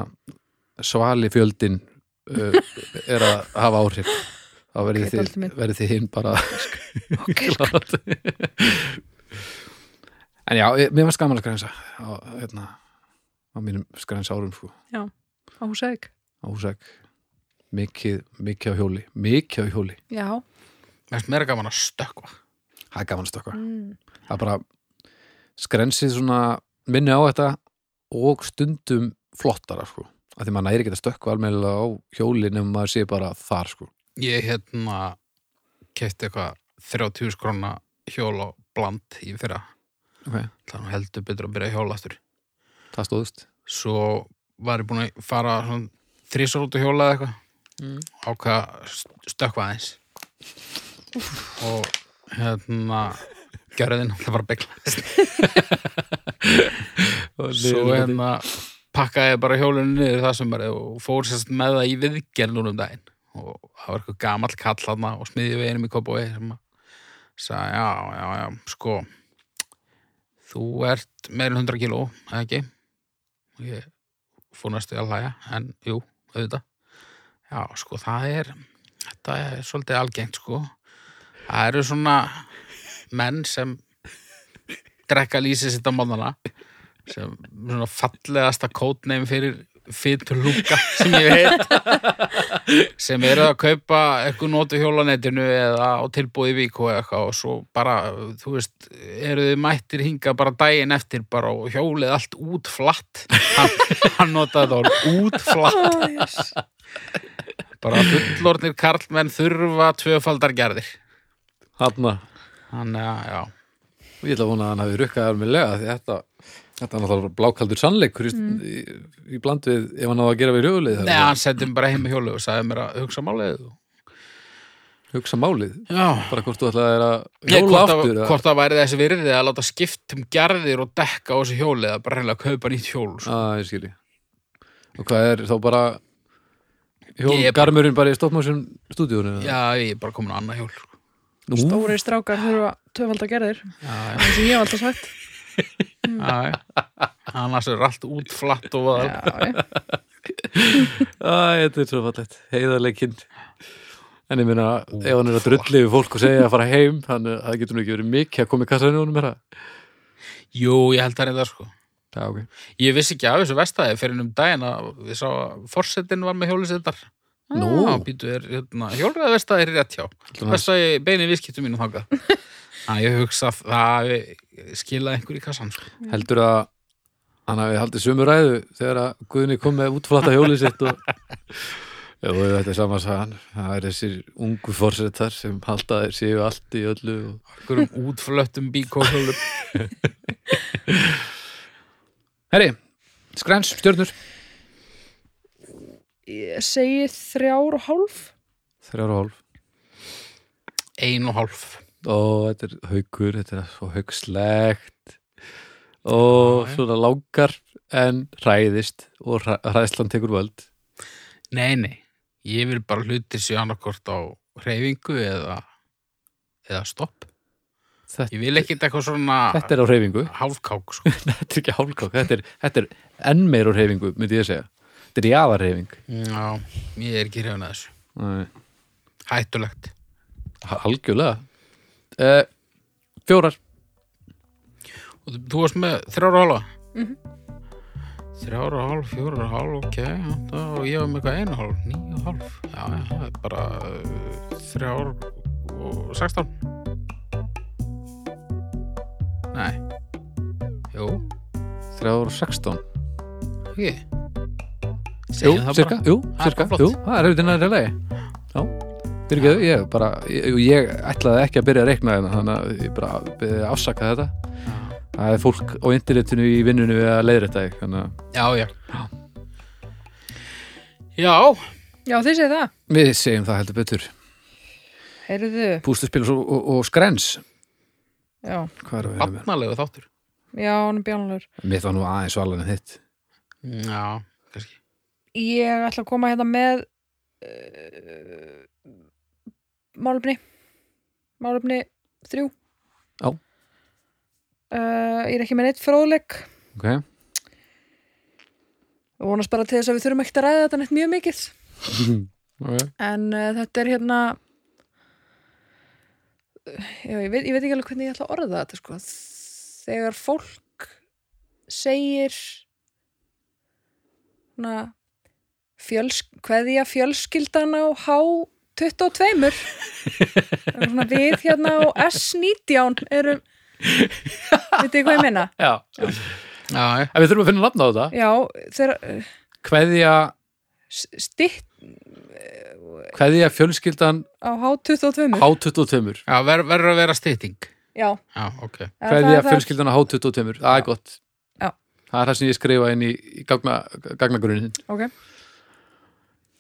Speaker 1: svali fjöldin uh, er að hafa áhrif þá verðið
Speaker 2: Ok, Baldur
Speaker 1: þið,
Speaker 2: minn.
Speaker 1: verðið þið hinn bara
Speaker 2: ok, ok,
Speaker 1: glad en já, ég- mér varst gaman að skrænsa á, hérna, á mínum skrænsa árum sko,
Speaker 2: á húsæk
Speaker 1: á húsæk mikið, mikið á hjóli mikið á hjóli,
Speaker 2: já,
Speaker 3: Mér finnst meira gaman að stökkva.
Speaker 1: það er gaman að stökkva
Speaker 2: mm,
Speaker 1: það er bara skrensið svona minni á þetta og stundum flottara sko, af því maður næri ekki að stökkva almennilega á hjóli nefnum maður sé bara þar sko,
Speaker 3: Ég hérna kefti eitthvað 30 skrona hjól á bland í fyrra.
Speaker 1: Ok.
Speaker 3: Það nú heldur betur að byrja að hjóla aftur.
Speaker 1: það stóðust
Speaker 3: Svo var ég búin að fara þrísar út að hjóla eða eitthvað.
Speaker 1: Mm.
Speaker 3: Ákvað stökkva aðeins. Og hérna gjörðin alltaf bara beglaðist. Svo hérna pakkaði ég bara hjólunni niður það sem er og fór sérst með það í viðgerð núna um daginn og það var eitthvað gamall kall þarna og smiði veginum í Kópói sem að sagði, já, já, já, sko þú ert meira en 100 kíló, eða ekki og ég fór næstu að hlæja en jú, auðvitað já, sko, það er þetta er svolítið algengt, sko það eru svona menn sem drekka lýsið sitt á móðana sem svona fallegasta kótneim fyrir fytur lúka sem ég heit sem eru að kaupa eitthvað notu hjólanetinu eða á tilbúið viku eða eitthvað og svo bara, þú veist, eru þið mættir hinga bara daginn eftir bara og hjólið allt útflatt hann, hann notaði það orð útflatt
Speaker 2: oh, yes.
Speaker 3: bara fullornir karlmenn þurfa tvöfaldar gerðir
Speaker 1: Hanna,
Speaker 3: þannig að, já
Speaker 1: og ég ætla að vona að hann hafi rukkað almennilega því þetta, þetta er náttúrulega blákaldur sannleikur mm. í, í bland við ef hann á að gera við rjóðlið
Speaker 3: Nei, hann sendi mig bara heim í hjólu og sagði mér að hugsa málið og-
Speaker 1: hugsa málið,
Speaker 3: Já,
Speaker 1: bara hvort þú ætlaðir að
Speaker 3: Nei,
Speaker 1: hjóla
Speaker 3: hvort,
Speaker 1: aftur
Speaker 3: að,
Speaker 1: eða-
Speaker 3: hvort að væri þessi virði að láta skipt um gerðir og dekka á þessu hjóli eða bara reynilega kaupa nýtt hjól sko.
Speaker 1: að ég skilji og hvað er þá bara
Speaker 3: Ég er bara-
Speaker 1: hjólgarmurinn bara í stoppmásum stúdíunum
Speaker 3: Já, ég er bara komin á annað hjól sko.
Speaker 1: Nú,
Speaker 2: stóri strákar þurfa töfald að gerðir
Speaker 3: Já, já,
Speaker 2: eins og ég hef alltaf sagt
Speaker 3: já, já Annars er allt útflatt og
Speaker 2: já,
Speaker 3: vaðal.
Speaker 2: já.
Speaker 1: Æ, þetta er svo fallegt, heiðarleikinn en ég meina, ef hann er að drulli við fólk og segja að fara heim, þannig að það getur nú ekki verið mikið að koma í kassanum honum er það?
Speaker 3: Jú, ég held það reynda sko
Speaker 1: Já, ok,
Speaker 3: Ég vissi ekki af þessu vestæði fyrir um daginn að við sá að forsetin var með hjólisindar
Speaker 1: Nú.
Speaker 3: Já, býtu er hérna, hjólræða vestæði er rétt hjá Vestæði beini viðskiptum mínum þangað Þannig að ég hugsa að það hafi skilað einhver í kassan sko.
Speaker 1: heldur að hann hafi haldið sömu ræðu þegar að Guðni kom með útflata hjólið sitt og Já, og þetta er saman sagan það er þessir ungu forsetar sem haldaðir séu allt í öllu og
Speaker 3: Einhverjum útflöttum bíkóhjólum
Speaker 1: Herri, skræns, stjörnur
Speaker 2: ég segi þrjár og hálf
Speaker 1: Þrjára hálf
Speaker 3: Ein og hálf
Speaker 1: Ó, þetta er haukur, þetta er svo haugslegt og
Speaker 3: Já, já.
Speaker 1: svona langar en ræðist og hræ- hræðslan tekur völd
Speaker 3: Nei, nei, ég vil bara hlutir séu annarkort á hreyfingu eða, eða stopp.
Speaker 1: þetta,
Speaker 3: Ég vil ekkit eitthvað svona
Speaker 1: þetta er á hreyfingu
Speaker 3: hálfkák, sko.
Speaker 1: þetta er ekki hálfkák, þetta er, þetta er enn meir á hreyfingu, myndi ég að segja þetta er jáðar hreyfing
Speaker 3: Já, ég er ekki hreyfin að þessu. Hættulegt.
Speaker 1: algjörlega uh, fjórar
Speaker 3: Og þú, þú varst með þrjára hálfa? Þrjára hálf, fjóra hálf, ok, já, þá og ég var með eitthvað einu hálf, níu hálf. Já, já, það er bara uh, þrjár og sextán. Nei, jú,
Speaker 1: þrjára og sextán
Speaker 3: ekki.
Speaker 1: jú,
Speaker 3: Segjum það bara.
Speaker 1: cirka, jú,
Speaker 3: Það er
Speaker 1: cirka,
Speaker 3: bara flott.
Speaker 1: jú, það er auðvitað næri lagi já, fyrirgeðu, ég bara ég, ég ætlaði ekki að byrja að reikna þetta þannig að ég bara byrja að afsaka þetta það er fólk á internetinu í vinnunni við að leiðra þetta þannig að
Speaker 3: Já, já. Já,
Speaker 2: já, þið segið það
Speaker 1: við segjum það heldur betur
Speaker 2: heyrðu,
Speaker 1: Pústuspil og, og, og skrens
Speaker 2: já,
Speaker 1: Hvað er að vera með?
Speaker 3: Barnalegu þáttur.
Speaker 2: já, hann er bjánlur
Speaker 1: Mitt var nú aðeins valan en þitt
Speaker 3: Já, kannski.
Speaker 2: ég ætla að koma hérna með uh, málumni málumni þrjú
Speaker 1: Já.
Speaker 2: Uh, ég er ekki með neitt fróðleik
Speaker 1: okay.
Speaker 2: og vonast bara til þess að við þurfum ekkert að ræða þetta neitt mjög mikið
Speaker 1: okay.
Speaker 2: en uh, þetta er hérna já, ég, veit, ég veit ekki alveg hvernig ég ætla að orða þetta sko. þegar fólk segir svona fjöls, hverja fjölskyldan á H22 er svona við hérna á S19 erum veit ekki hvað ég meina
Speaker 1: Já,
Speaker 3: Já, já.
Speaker 1: en við þurfum að finna nafn á þetta
Speaker 2: já, þegar eh,
Speaker 1: Kveðja,
Speaker 2: stitt
Speaker 1: kveðja fjölskyldan
Speaker 2: á H22
Speaker 1: H22
Speaker 3: já ver, verður að vera stytting.
Speaker 2: já,
Speaker 3: Já, ok.
Speaker 2: en það-
Speaker 1: Kveðja
Speaker 2: það-
Speaker 1: fjölskyldan á H22 Það er gott
Speaker 2: Já.
Speaker 1: Það er það sem ég skrifa inn í, í gagna, gagnagrunin
Speaker 2: ok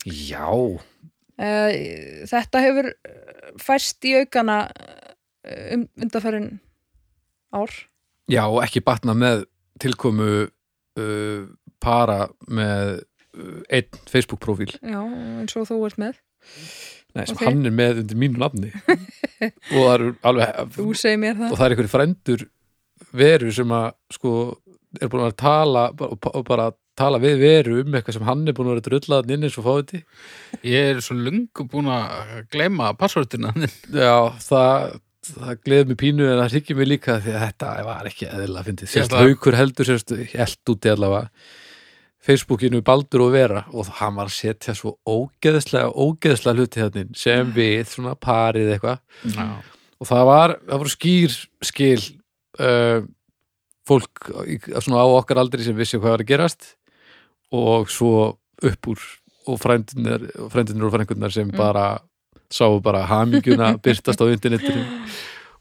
Speaker 1: Já
Speaker 2: Eh, þetta hefur eh, færst í aukana eh, um, undanfærin ár
Speaker 1: Já, og ekki batna með tilkomu uh, para með uh, einn Facebook-profíl
Speaker 2: já, eins og þú ert með
Speaker 1: Nei, sem
Speaker 2: Ok.
Speaker 1: hann er með undir mínu nafni og það eru alveg
Speaker 2: þú segir mér
Speaker 1: og
Speaker 2: það
Speaker 1: það er einhverju frændur veru sem að sko er búin að vera að tala bara- og og bara tala við veru um eitthvað sem hann er búin að vera drullaðan inn eins og fáið því
Speaker 3: Ég er svo lungu búin að gleyma passvortina.
Speaker 1: Já, það, það gleður mér pínu en það hryggir mér líka því að þetta var ekki eðla fyndið. Sérst
Speaker 3: ætla að-
Speaker 1: haukur heldur sérst eld úti allavega Facebookinu Baldur og Vera og hann var að setja svo ógeðslega ógeðslega hluti þannig sem við svona parið eitthvað
Speaker 3: Já.
Speaker 1: og það var, það voru skýr skil uh, fólk í, svona á okkar aldri sem vissi hvað var að gerast og svo upp úr og frændunir, frændunir og frængunnar sem bara sáu bara hamingjuna byrtast á internetinu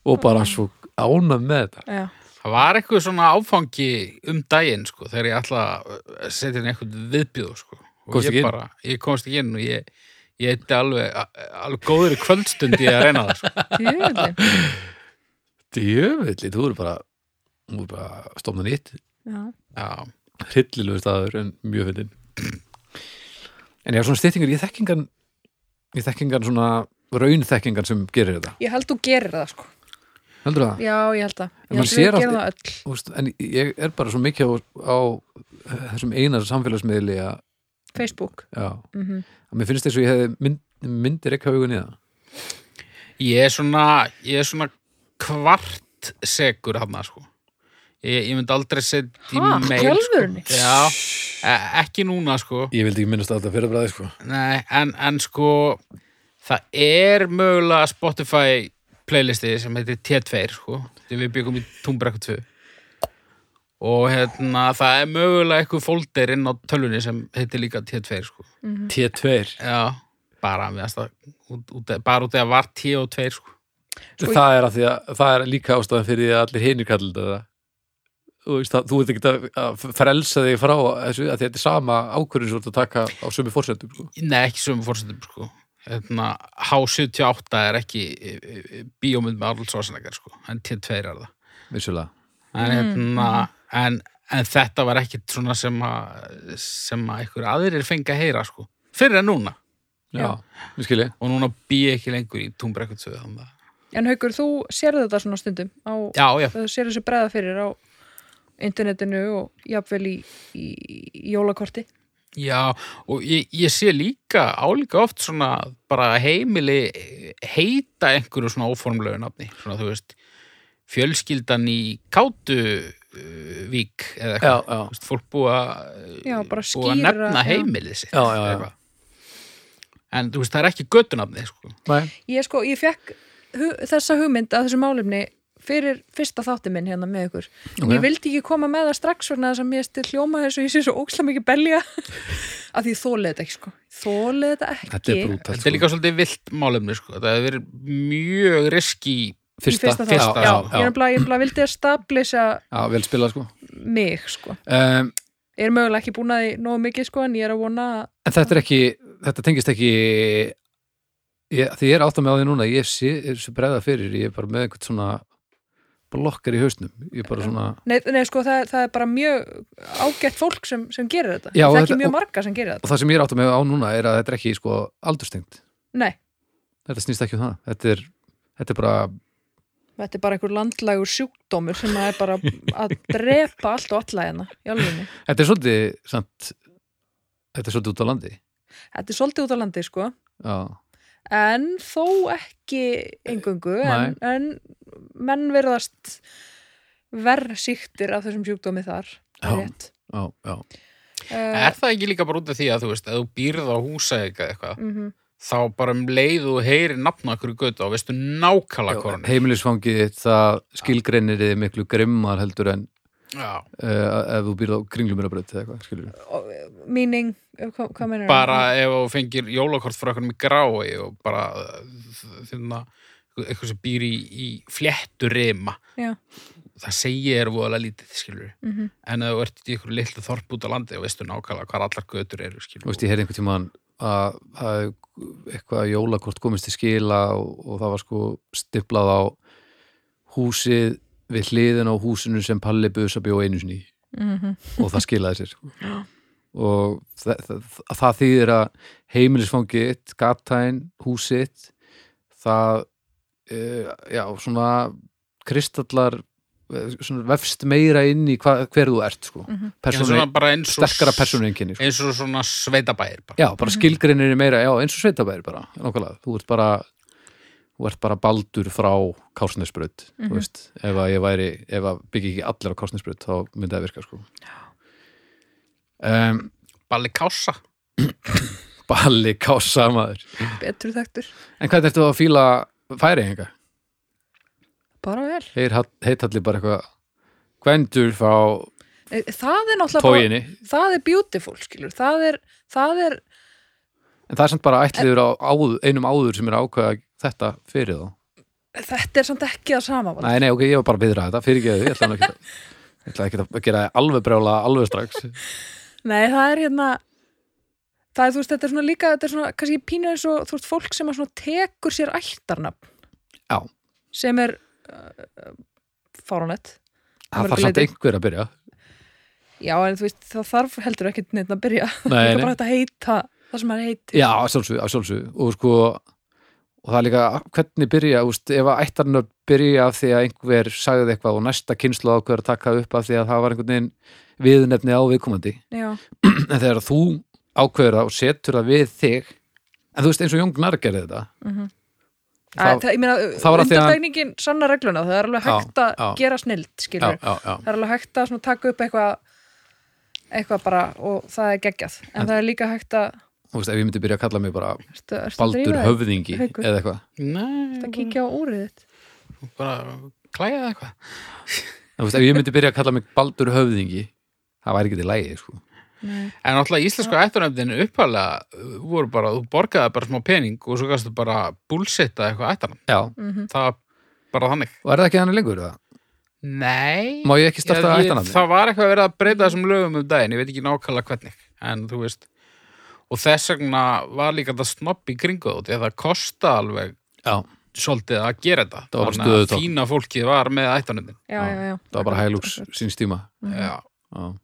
Speaker 1: og bara svo ánað með þetta
Speaker 2: já,
Speaker 3: Það var eitthvað svona áfangi um daginn, sko, þegar ég ætla að setja inn eitthvað viðbjóð, sko. Og
Speaker 1: Komst
Speaker 3: ég
Speaker 1: ekki inn?
Speaker 3: Bara, ég komst ekki inn og ég, ég eitthvað alveg, alveg góður í kvöldstundi að reyna það, sko.
Speaker 2: djöfulli
Speaker 1: djöfulli, þú eru bara þú eru bara stofna nýtt
Speaker 2: já,
Speaker 3: Já,
Speaker 1: hryllilegu staður en mjög fyndin en já, svona styttingar, ég þekkingan ég þekkingan svona raunþekkingan sem gerir þetta,
Speaker 2: ég held þú gerir það sko
Speaker 1: heldur það?
Speaker 2: já, ég held það,
Speaker 1: En
Speaker 2: ég
Speaker 1: maður
Speaker 2: held við
Speaker 1: sér allt-
Speaker 2: gerum það öll
Speaker 1: Þú veist, en ég er bara svo mikið á, á eh, þessum eina samfélagsmiðli að,
Speaker 2: Facebook
Speaker 1: já,
Speaker 2: mm
Speaker 1: að mér finnst þess að ég hefði mynd, myndir ekki haugun í það
Speaker 3: ég er svona, ég er svona kvart segur hann, sko. Ég, ég myndi aldrei setja í
Speaker 2: Ha, í
Speaker 3: mail, sko.
Speaker 2: alvörunni?
Speaker 3: Já, e- ekki núna, sko.
Speaker 1: ég vildi ekki minnast alltaf fyrir bræði sko.
Speaker 3: Nei, en, en sko það er mögulega Spotify playlisti sem heitir T2 sko, því við byggum í Túnbrekku 2 og hérna það er mögulega eitthvað folder inn á tölunni sem heitir líka T2 sko.
Speaker 2: Mhm.
Speaker 1: T2
Speaker 3: Já, bara við að út, út, bara út eða var T og 2 sko.
Speaker 2: Sko,
Speaker 1: það er, að því að, það er líka ástæðan fyrir því að allir hinir kallir þetta þú veist að þú veit ekki að, að frelsa þig frá þessu að þetta er sama ákvörðin svo að taka á sömu fórsendum sko.
Speaker 3: Nei, ekki sömu fórsendum sko. hérna, H78 er ekki e, e, e, bíómynd með Arnold Schwarzenegger sko, en T2 er það
Speaker 1: vissulega
Speaker 3: en, hérna, en, en þetta var ekkit svona sem að sem að einhver aðrir fengi að heyra sko. fyrir en núna
Speaker 1: já, við skilji
Speaker 3: og núna bý ég ekki lengur í túnbrekkutsöðu
Speaker 2: en Haukur, þú sér þetta svona stundum á,
Speaker 3: já, já,
Speaker 2: þú sér þessu bregða fyrir á internetinu og jafnvel í, í, í jólakorti
Speaker 3: já og ég, ég sé líka álíka oft svona bara heimili heita einhverju svona óformlegu nafni svona þú veist fjölskyldan í Kátu uh, Vík eða
Speaker 1: já,
Speaker 3: eitthvað
Speaker 1: já,
Speaker 3: Þú veist, fólk búið að
Speaker 2: Já, bara
Speaker 3: búið að
Speaker 2: skýra,
Speaker 3: nefna
Speaker 2: já.
Speaker 3: heimilið sitt
Speaker 1: Já, já, já.
Speaker 3: eitthvað. en þú veist það er ekki göttunafni sko.
Speaker 1: Nei.
Speaker 2: Ég sko, ég fekk hu þessa hugmynd að þessu málefni fyrir fyrsta þátti minn hérna með ykkur
Speaker 1: Ok.
Speaker 2: en ég vildi ekki koma með það strax vegna þess að mér stil hljóma þessu, ég sé svo ókslega mikið belja að því þólið þetta ekki sko þólið þetta ekki
Speaker 1: þetta er sko. brútal
Speaker 3: Þetta er líka svolítið vilt málefni sko. Það hefur verið mjög riski
Speaker 2: fyrsta, fyrsta þátti,
Speaker 3: fyrsta,
Speaker 2: já,
Speaker 1: já,
Speaker 2: ég
Speaker 1: já,
Speaker 2: er bara, ég bara vildi að stablisa
Speaker 1: já, vel spilað sko
Speaker 2: mig sko,
Speaker 1: um,
Speaker 2: ég er mögulega ekki búin að því nógu mikið sko en ég er að vona að
Speaker 1: En þetta er ekki, þetta tengist ekki ég, því ég er átt að með á því núna ég sé, er svo bregða fyrir, ég er bara með einhvern svona blokkar í hausnum ég er bara svona,
Speaker 2: Nei, nei sko, það, það er bara mjög ágætt fólk sem, sem gerir þetta.
Speaker 1: Já,
Speaker 2: það er
Speaker 1: þetta-
Speaker 2: ekki mjög
Speaker 1: og-
Speaker 2: marga sem gerir þetta.
Speaker 1: og það sem ég er átt að með á núna er að þetta er ekki sko aldurstengt
Speaker 2: Nei,
Speaker 1: þetta snýst ekki um það, þetta er þetta er bara,
Speaker 2: þetta er bara einhver landlægur sjúkdómur sem að er bara að drepa allt og alla hérna í alvegni.
Speaker 1: þetta er svolítið samt, þetta er svolítið út á landi
Speaker 2: Þetta er svolítið út á landi, sko,
Speaker 1: já,
Speaker 2: en þó ekki engöngu, en, en menn verðast verð síktir af þessum sjúkdómi þar.
Speaker 1: Já.
Speaker 2: það er rétt.
Speaker 1: já, já
Speaker 2: Uh,
Speaker 3: Er það ekki líka bara út af því að þú veist, að þú býrð á húsæk eða eitthvað,
Speaker 2: mhm.
Speaker 3: þá bara um leið og þú heyrir nafna okkur götu og veistu nákvæmlega
Speaker 1: Já,
Speaker 3: hvað hann er.
Speaker 1: heimilisfangið þitt, það skilgreinir þið miklu grimmar heldur en
Speaker 3: Já,
Speaker 1: uh, ef þú býrð á kringlumirabröð eða eitthvað, skilur
Speaker 2: Meaning, hvað, eh, hvað meinar
Speaker 3: bara ef þú fengir jólakort frá okkur með grái og bara þérna, eitthvað sem býr í, í fléttu rima.
Speaker 2: Já.
Speaker 3: Það segir er voðalega lítið, skilur við.
Speaker 2: Mm -hmm.
Speaker 3: En ef þú ert í ykkur litlu þorp út á landi og veistu nákvæmlega hvað allar götur eru, skilur
Speaker 1: Þú veist, ég heyrði einhvern tímann að, að eitthvað jólakort komist til skila og, og það var sko stimplað á húsið við hliðin á húsinu sem Palli Busa bjó einu sinni í
Speaker 2: Mm -hmm.
Speaker 1: og það skilaði sér sko.
Speaker 2: Já.
Speaker 1: og það, það, það þýðir að heimilisfangið, gatæn, húsitt það uh, já, svona kristallar eh, svona vefst meira inn í hva, hver þú ert sko.
Speaker 2: Mhm.
Speaker 3: Persónu,
Speaker 1: persónu,
Speaker 3: bara eins og,
Speaker 1: sterkara persónuenginni sko.
Speaker 3: eins og svona sveitabæir bara.
Speaker 1: Já, bara
Speaker 2: Mhm.
Speaker 1: skilgreinir er meira, já, eins og sveitabæri bara, nákvæmlega, þú ert bara þú ert bara baldur frá kásnesbröð, þú
Speaker 2: Mhm.
Speaker 1: veist ef að ég væri, ef að byggja ekki allir á kásnesbröð þá myndi það virka, sko um,
Speaker 3: Balli kása.
Speaker 1: Balli kása maður
Speaker 2: Betur þekktur.
Speaker 1: En hvernig ertu að fíla færi enga?
Speaker 2: Bara vel.
Speaker 1: Heit allir bara eitthvað Gvendur frá
Speaker 2: Eh, Það er náttúrulega bara-
Speaker 1: tóginni
Speaker 2: það er beautiful, skilur. Það er, það er,
Speaker 1: En það er samt bara ætliður á áður, einum áður sem er að ákveða þetta fyrir þá
Speaker 2: þetta er samt ekki það sama. Valur.
Speaker 1: Nei, nei, ok, ég var bara að viðra þetta, fyrirgeðu, ég ætla nú ekki að ég ætla ekki að gera þig alveg brjála alveg strax
Speaker 2: Nei, það er hérna, það er, þú veist, þetta er svona líka, þetta er svona, kannski pínu eins og, þú veist, fólk sem að svona tekur sér ættarnafn.
Speaker 1: Já.
Speaker 2: Sem er uh, fáránett.
Speaker 1: Það
Speaker 2: mörgu
Speaker 1: þarf samt
Speaker 2: leyti.
Speaker 1: einhver að byrja
Speaker 2: Já, en þú veist, það þarf heldur ekkert neitt að byrja.
Speaker 1: Nei,
Speaker 2: það
Speaker 1: nei.
Speaker 2: er bara hægt að heita það sem maður heitir.
Speaker 1: Já, að sjálfsög, að sjálfsög og sko, og það er líka hvernig byrja, úst, ef að ættarnar byrja af því að einhver sagði eitthvað og næsta kynslu ákveður að taka upp af því að það var einhvern veginn viðnefni á viðkomandi
Speaker 2: Já.
Speaker 1: en þegar þú ákveður það og setur það við þig en þú veist eins og Jón Gnar gerði þetta
Speaker 2: Æ,
Speaker 1: Það-
Speaker 2: það, ég meina,
Speaker 1: það var að því að-
Speaker 2: undirtekningin sanna regluna, það er alveg
Speaker 1: Já,
Speaker 2: hægt að
Speaker 1: já.
Speaker 2: gera snild, skilur.
Speaker 1: já, já,
Speaker 2: Það er alveg hægt að svona, taka upp eitthvað eitthvað bara og það er geggjað. En, það er líka hægt að
Speaker 1: þú veist, ef ég myndi byrja að kalla mig bara
Speaker 2: ertu, ertu að
Speaker 1: Baldur
Speaker 2: drífa þig?
Speaker 1: Höfðingi
Speaker 2: Haukur.
Speaker 1: eða eitthvað
Speaker 3: Nei,
Speaker 2: Ertu að kíkja á úrið þitt?
Speaker 3: bara klæða eitthvað.
Speaker 1: Þú veist, ef ég myndi byrja að kalla mig Baldur Höfðingi það væri ekki til lægi, sko
Speaker 3: En náttúrulega íslensku ættarnöfnin uppalega voru bara, þú borgaði bara smá pening og svo kannstu bara búlsetta eitthvað ættarnöfn.
Speaker 1: Já,
Speaker 3: Það var bara þannig.
Speaker 1: og er það ekki hann lengur? eða?
Speaker 3: Nei.
Speaker 1: Má ég ekki starta
Speaker 3: Ég- ég-
Speaker 1: ættarnafni?
Speaker 3: Það var eitthvað verið að breyta þessum lögum um daginn, ég veit ekki nákvæmlega hvernig, en þú veist. Og þess vegna var líka þetta snopp í kringu þú, því að það kosta alveg
Speaker 1: Já,
Speaker 3: svolítið að gera þetta.
Speaker 1: Það var
Speaker 3: Þannig að
Speaker 1: stöðutónn.
Speaker 3: Fína fólkið var með ættarnöfnin.
Speaker 2: Já,
Speaker 1: Já,
Speaker 2: já, já.
Speaker 1: það var bara hælúks síns tíma
Speaker 2: Mm.
Speaker 3: Já.
Speaker 1: Já,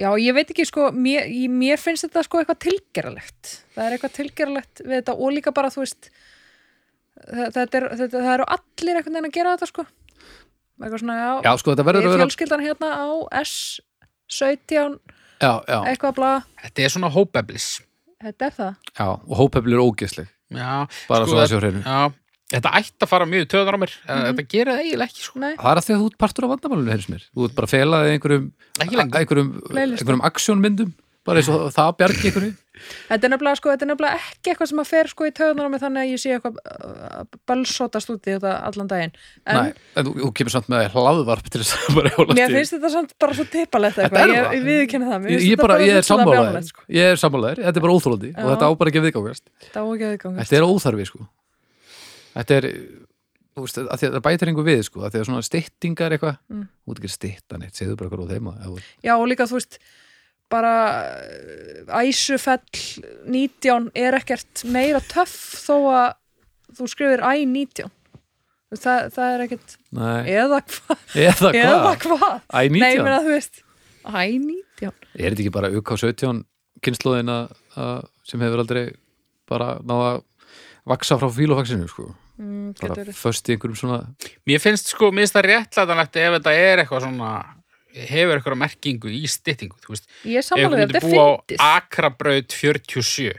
Speaker 2: Já, ég veit ekki, sko, mér, ég- mér finnst þetta sko eitthvað tilgeralegt. Það er eitthvað tilgeralegt við þetta og líka bara, þú veist, það, þetta er, þetta, það eru allir einhvern veginn að gera þetta, sko. Eitthvað svona, já,
Speaker 1: já sko, þetta verður
Speaker 2: við
Speaker 1: að vera
Speaker 2: fjölskyldan hérna á S17
Speaker 1: Já, já,
Speaker 2: eitthvað bla,
Speaker 3: Þetta er svona hópeblis.
Speaker 2: þetta er það
Speaker 1: já, og hópefli er ógeðsleg
Speaker 3: Já,
Speaker 1: bara
Speaker 3: Sko,
Speaker 1: svo það sé á hreinu
Speaker 3: já. Þetta ætti að fara mjög í töðunar á mér. Mm Þetta gerir það eiginlega ekki, sko.
Speaker 2: Nei,
Speaker 1: Það er að því að þú ert partur af vandamálinu, heyrðis mér Þú ert bara felaði einhverjum
Speaker 3: Ekki lengur.
Speaker 1: einhverjum,
Speaker 2: Playlist.
Speaker 1: einhverjum aksjónmyndum bara eins og það bjargi einhverju
Speaker 2: þetta er nefnilega, sko, þetta er nefnilega ekki eitthvað sem að fer sko í töðunar á mig þannig að ég sé eitthvað uh, balsótast út í þetta allan daginn en
Speaker 1: Nei, en þú, þú kemur samt með hlaðvarp til þess að bara hjóla
Speaker 2: mér finnst þetta samt bara svo tippalegt
Speaker 1: Þetta er
Speaker 2: eitthvað, ég,
Speaker 1: það.
Speaker 2: ég viðkenna það mér
Speaker 1: Ég,
Speaker 2: finnst
Speaker 1: ég,
Speaker 2: þetta
Speaker 1: bara, ég er
Speaker 2: virkilega
Speaker 1: sammálaðir
Speaker 2: brjálað, sko.
Speaker 1: Ég er sammálaðir, þetta er bara óþrólandi og
Speaker 2: Já.
Speaker 1: þetta á bara ekki að viðgangast
Speaker 2: Þetta á ekki að viðgangast.
Speaker 1: Þetta er óþarfi sko Þetta er þú veist, að því að það bætir einhver við sko að því að svona styttingar eitthvað
Speaker 2: Mm.
Speaker 1: þú ert ekki að stytta neitt, segðu bara hvað þú þeima
Speaker 2: Já, og líka þú veist bara eh, æsufell 19 er ekkert meira töff þó að þú skrifir æ 19 Þú veist, það, það er ekkert
Speaker 1: Nei,
Speaker 2: eða hvað,
Speaker 1: eða
Speaker 2: eða
Speaker 1: hvað?
Speaker 2: hvað
Speaker 1: Æ,
Speaker 2: Nei, ég
Speaker 1: 19?
Speaker 2: meina þú veist Æ 19
Speaker 1: Er þetta ekki bara UK17 kynnslóðina að- sem hefur aldrei bara náða að vaksa frá fílofaxinu, sko?
Speaker 2: mm,
Speaker 1: Bara
Speaker 2: getur verið.
Speaker 1: föst í einhverjum svona
Speaker 3: Mér finnst sko, mér finnst það réttlætanlegt ef þetta er eitthvað svona, hefur eitthvað merkingu í styttingu, þú veist.
Speaker 2: Ég er
Speaker 3: Ef þú
Speaker 2: samanlega,
Speaker 3: myndir
Speaker 2: þetta er
Speaker 3: búa
Speaker 2: fyndið
Speaker 3: á Akrabraut 47,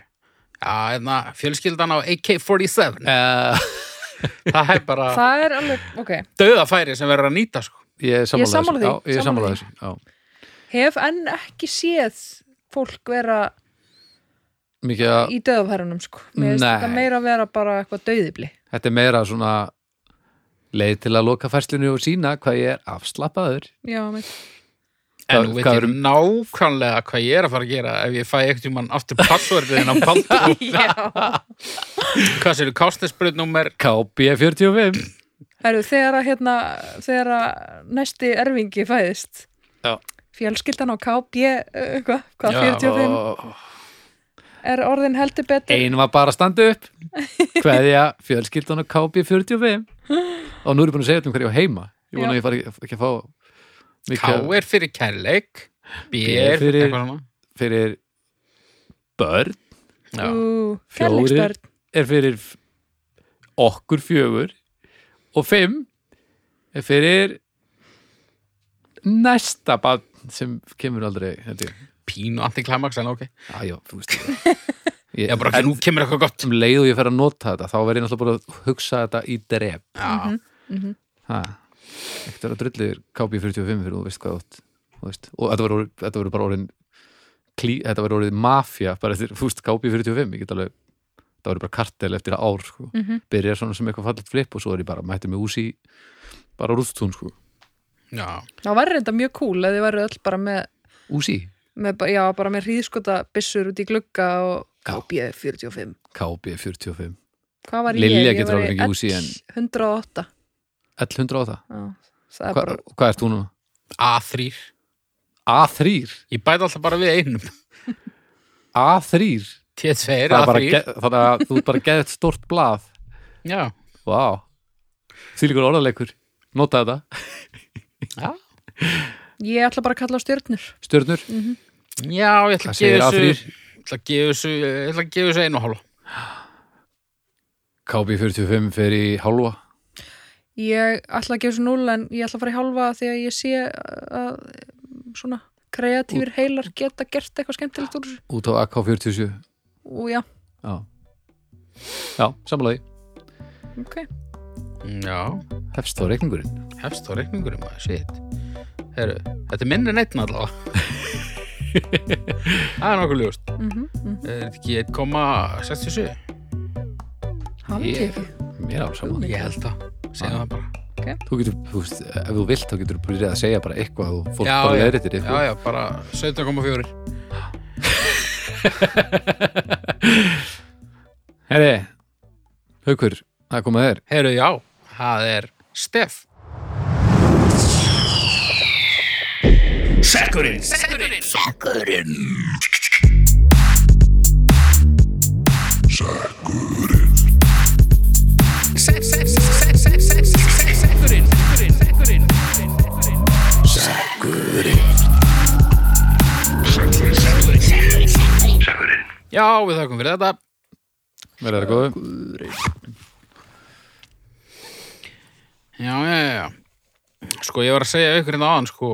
Speaker 3: já, hérna, fjölskyldan á AK-47,
Speaker 1: uh,
Speaker 3: það er bara
Speaker 2: Það er alveg, ok
Speaker 3: döðafæri sem verður að nýta, sko.
Speaker 1: Ég er
Speaker 2: Ég er sammála
Speaker 1: sammála
Speaker 2: því,
Speaker 1: þessu Já, Ég er
Speaker 2: sammála
Speaker 1: sammála þessu já.
Speaker 2: Hef enn ekki séð fólk vera
Speaker 1: Mikið að
Speaker 2: í döðafærunum sko. Mér finnst
Speaker 1: Nei.
Speaker 2: þetta meira að vera bara eitthvað döðibli
Speaker 1: þetta er meira svona leið til að loka færslinu og sína hvað ég er afslappaður
Speaker 2: Já, mitt
Speaker 1: Hvað-
Speaker 3: En nú veit
Speaker 1: hvað
Speaker 3: ég
Speaker 1: erum-
Speaker 3: nákvæmlega hvað ég er að fara að gera ef ég fæ ekkert um hann aftur passvörðin á Baldur.
Speaker 2: Já.
Speaker 3: Hvað séu, kásnesbröð nummer
Speaker 1: KB45
Speaker 2: Heru, þegar að hérna þegar að næsti erfingi fæðist
Speaker 1: Já. fjölskyldan
Speaker 2: fjölskyldan á KB eh, eitthvað, hvað, 45
Speaker 1: og
Speaker 2: er orðin heldur betur
Speaker 1: ein var bara að standa upp hverja fjölskyldan og KB45 og nú er ég búin að segja öllum hverja á heima ég vona
Speaker 2: Já.
Speaker 1: að ég fari ekki að fá
Speaker 3: K
Speaker 1: mikið
Speaker 3: er fyrir kærleik, B
Speaker 1: B
Speaker 3: er
Speaker 1: er
Speaker 3: fyrir
Speaker 1: fyrir-
Speaker 3: eitthvað svona.
Speaker 1: fyrir börn
Speaker 3: Já.
Speaker 2: Ú,
Speaker 1: Fjórir.
Speaker 2: kærleiksbörn.
Speaker 1: er fyrir f- okkur fjögur og fimm er fyrir næsta bann sem kemur aldrei held ég
Speaker 3: Pínu antiklæmaks, en ok.
Speaker 1: Já, já, þú veist ég,
Speaker 3: Já, bara ekki, nú kemur eitthvað gott.
Speaker 1: sem Um leið og ég fer að nota þetta þá verð ég náttúrulega bara að hugsa þetta í drep
Speaker 2: Mhm,
Speaker 3: Já,
Speaker 1: ha. ekkert vera drullir KB45 fyrir þú veist hvað átt þú veist. og þetta verður orðið- þetta verður bara orðin klí, þetta verður orðið mafja bara eftir, þú veist, KB45 ég get alveg, það verður bara kartel eftir að ár sko.
Speaker 2: Mhm.
Speaker 1: byrja svona sem eitthvað fallit flip og svo er ég bara mættir mig ús í bara rústún sko.
Speaker 3: já.
Speaker 2: þá væri þetta mjög cool að þið væri öll bara með,
Speaker 1: ús í
Speaker 2: með ba- já, bara með hríðskota byssur út í glugga og
Speaker 1: Já.
Speaker 2: KB 45
Speaker 1: KB45
Speaker 2: hvað var
Speaker 1: Lilja
Speaker 2: ég? Ég
Speaker 1: getur
Speaker 2: var
Speaker 1: alveg
Speaker 2: í
Speaker 1: ekki úr síðan.
Speaker 2: 108
Speaker 1: 1100 á það,
Speaker 2: já, það er
Speaker 1: Hva,
Speaker 2: bara
Speaker 1: hvað ert þú núna?
Speaker 3: A3.
Speaker 1: A3
Speaker 3: Ég bæti alltaf bara við einum.
Speaker 1: A3
Speaker 3: T2,
Speaker 1: Það er bara
Speaker 3: A3.
Speaker 1: ge- þannig að þú ert bara geðið stort blað
Speaker 3: Já.
Speaker 1: Vá, þýlíkur orðarleikur Nota þetta,
Speaker 3: já.
Speaker 2: ég ætla bara að kalla á stjörnur
Speaker 1: stjörnur
Speaker 3: Já, ég ætla
Speaker 1: Hvað
Speaker 3: að gefa
Speaker 1: segir
Speaker 3: þessu, ég ætla að gefa þessu, ég ætla að gefa þessu einu og hálfa.
Speaker 1: KB45 fer í hálfa
Speaker 2: Ég ætla að gefa svo núl en ég ætla að fara í hálfa því að ég sé uh, að svona kreatífur heilar geta gert eitthvað skemmtilegt úr þessu.
Speaker 1: út á AK47
Speaker 2: og já,
Speaker 1: Já, Já samanlega
Speaker 2: ok
Speaker 3: Já,
Speaker 1: Hefst þá reikningurinn
Speaker 3: hefst þá reikningurinn maður, shit. Heru, þetta er minni neitt allavega. Það er nokkuð ljóst.
Speaker 2: mm -hmm.
Speaker 3: Er þetta ekki 1,67?
Speaker 2: Hafið
Speaker 1: Ég-
Speaker 2: þið ekki?
Speaker 1: Mér alveg saman
Speaker 3: Ég held það, segjum
Speaker 1: Ah.
Speaker 3: það bara.
Speaker 1: Þú getur, þú veist, ef þú vilt þá getur þú byrjað að segja bara eitthvað og fólk
Speaker 3: Já,
Speaker 1: bara
Speaker 3: já.
Speaker 1: leðir eftir
Speaker 3: Já, já, bara 17,4.
Speaker 1: Herri, haukur, það er komið að þér
Speaker 3: Heru, já, það er Steff. Já, við þakkum fyrir þetta.
Speaker 1: Verður
Speaker 3: Sko.
Speaker 1: það góðu?
Speaker 3: Já, já, já, já. Sko, ég var að segja ykkur en aðan, sko,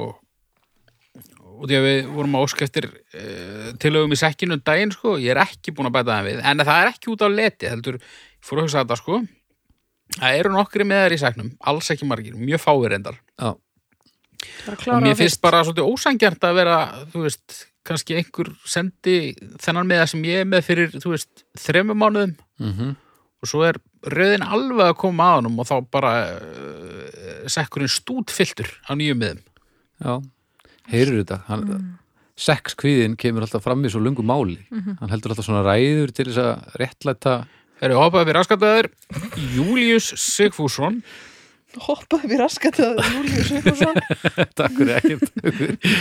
Speaker 3: út í að við vorum að óska eftir uh, tilögum í sekkinu um daginn, sko, ég er ekki búin að bæta það við, en það er ekki út af leti, heldur, ég fór að hugsa þetta, sko, það eru nokkri með þær í seknum, alls ekki margir, mjög fáir endar,
Speaker 1: Já,
Speaker 2: Bara að
Speaker 3: og
Speaker 2: klára
Speaker 3: mér
Speaker 2: það
Speaker 3: finnst bara svolítið ósangjart að vera, þú veist, kannski einhver sendi þennan með það sem ég er með fyrir, þú veist, þremur mánuðum,
Speaker 1: mm
Speaker 3: og svo er rauðin alveg að koma að honum og þá bara uh, sekkurinn stútfylltur á nýjum miðum
Speaker 1: já Heyrur þetta, hann,
Speaker 2: Mm.
Speaker 1: sex kvíðin kemur alltaf fram í svo lungu máli
Speaker 2: Mhm.
Speaker 1: hann heldur alltaf svona ræður til þess að réttlæta
Speaker 3: Þeir eru hoppaði fyrir raskataður Július Sigfússon
Speaker 2: fyrst hoppaði við raskat að Július Sigfússon
Speaker 1: Takk fyrir ekkert Haukur.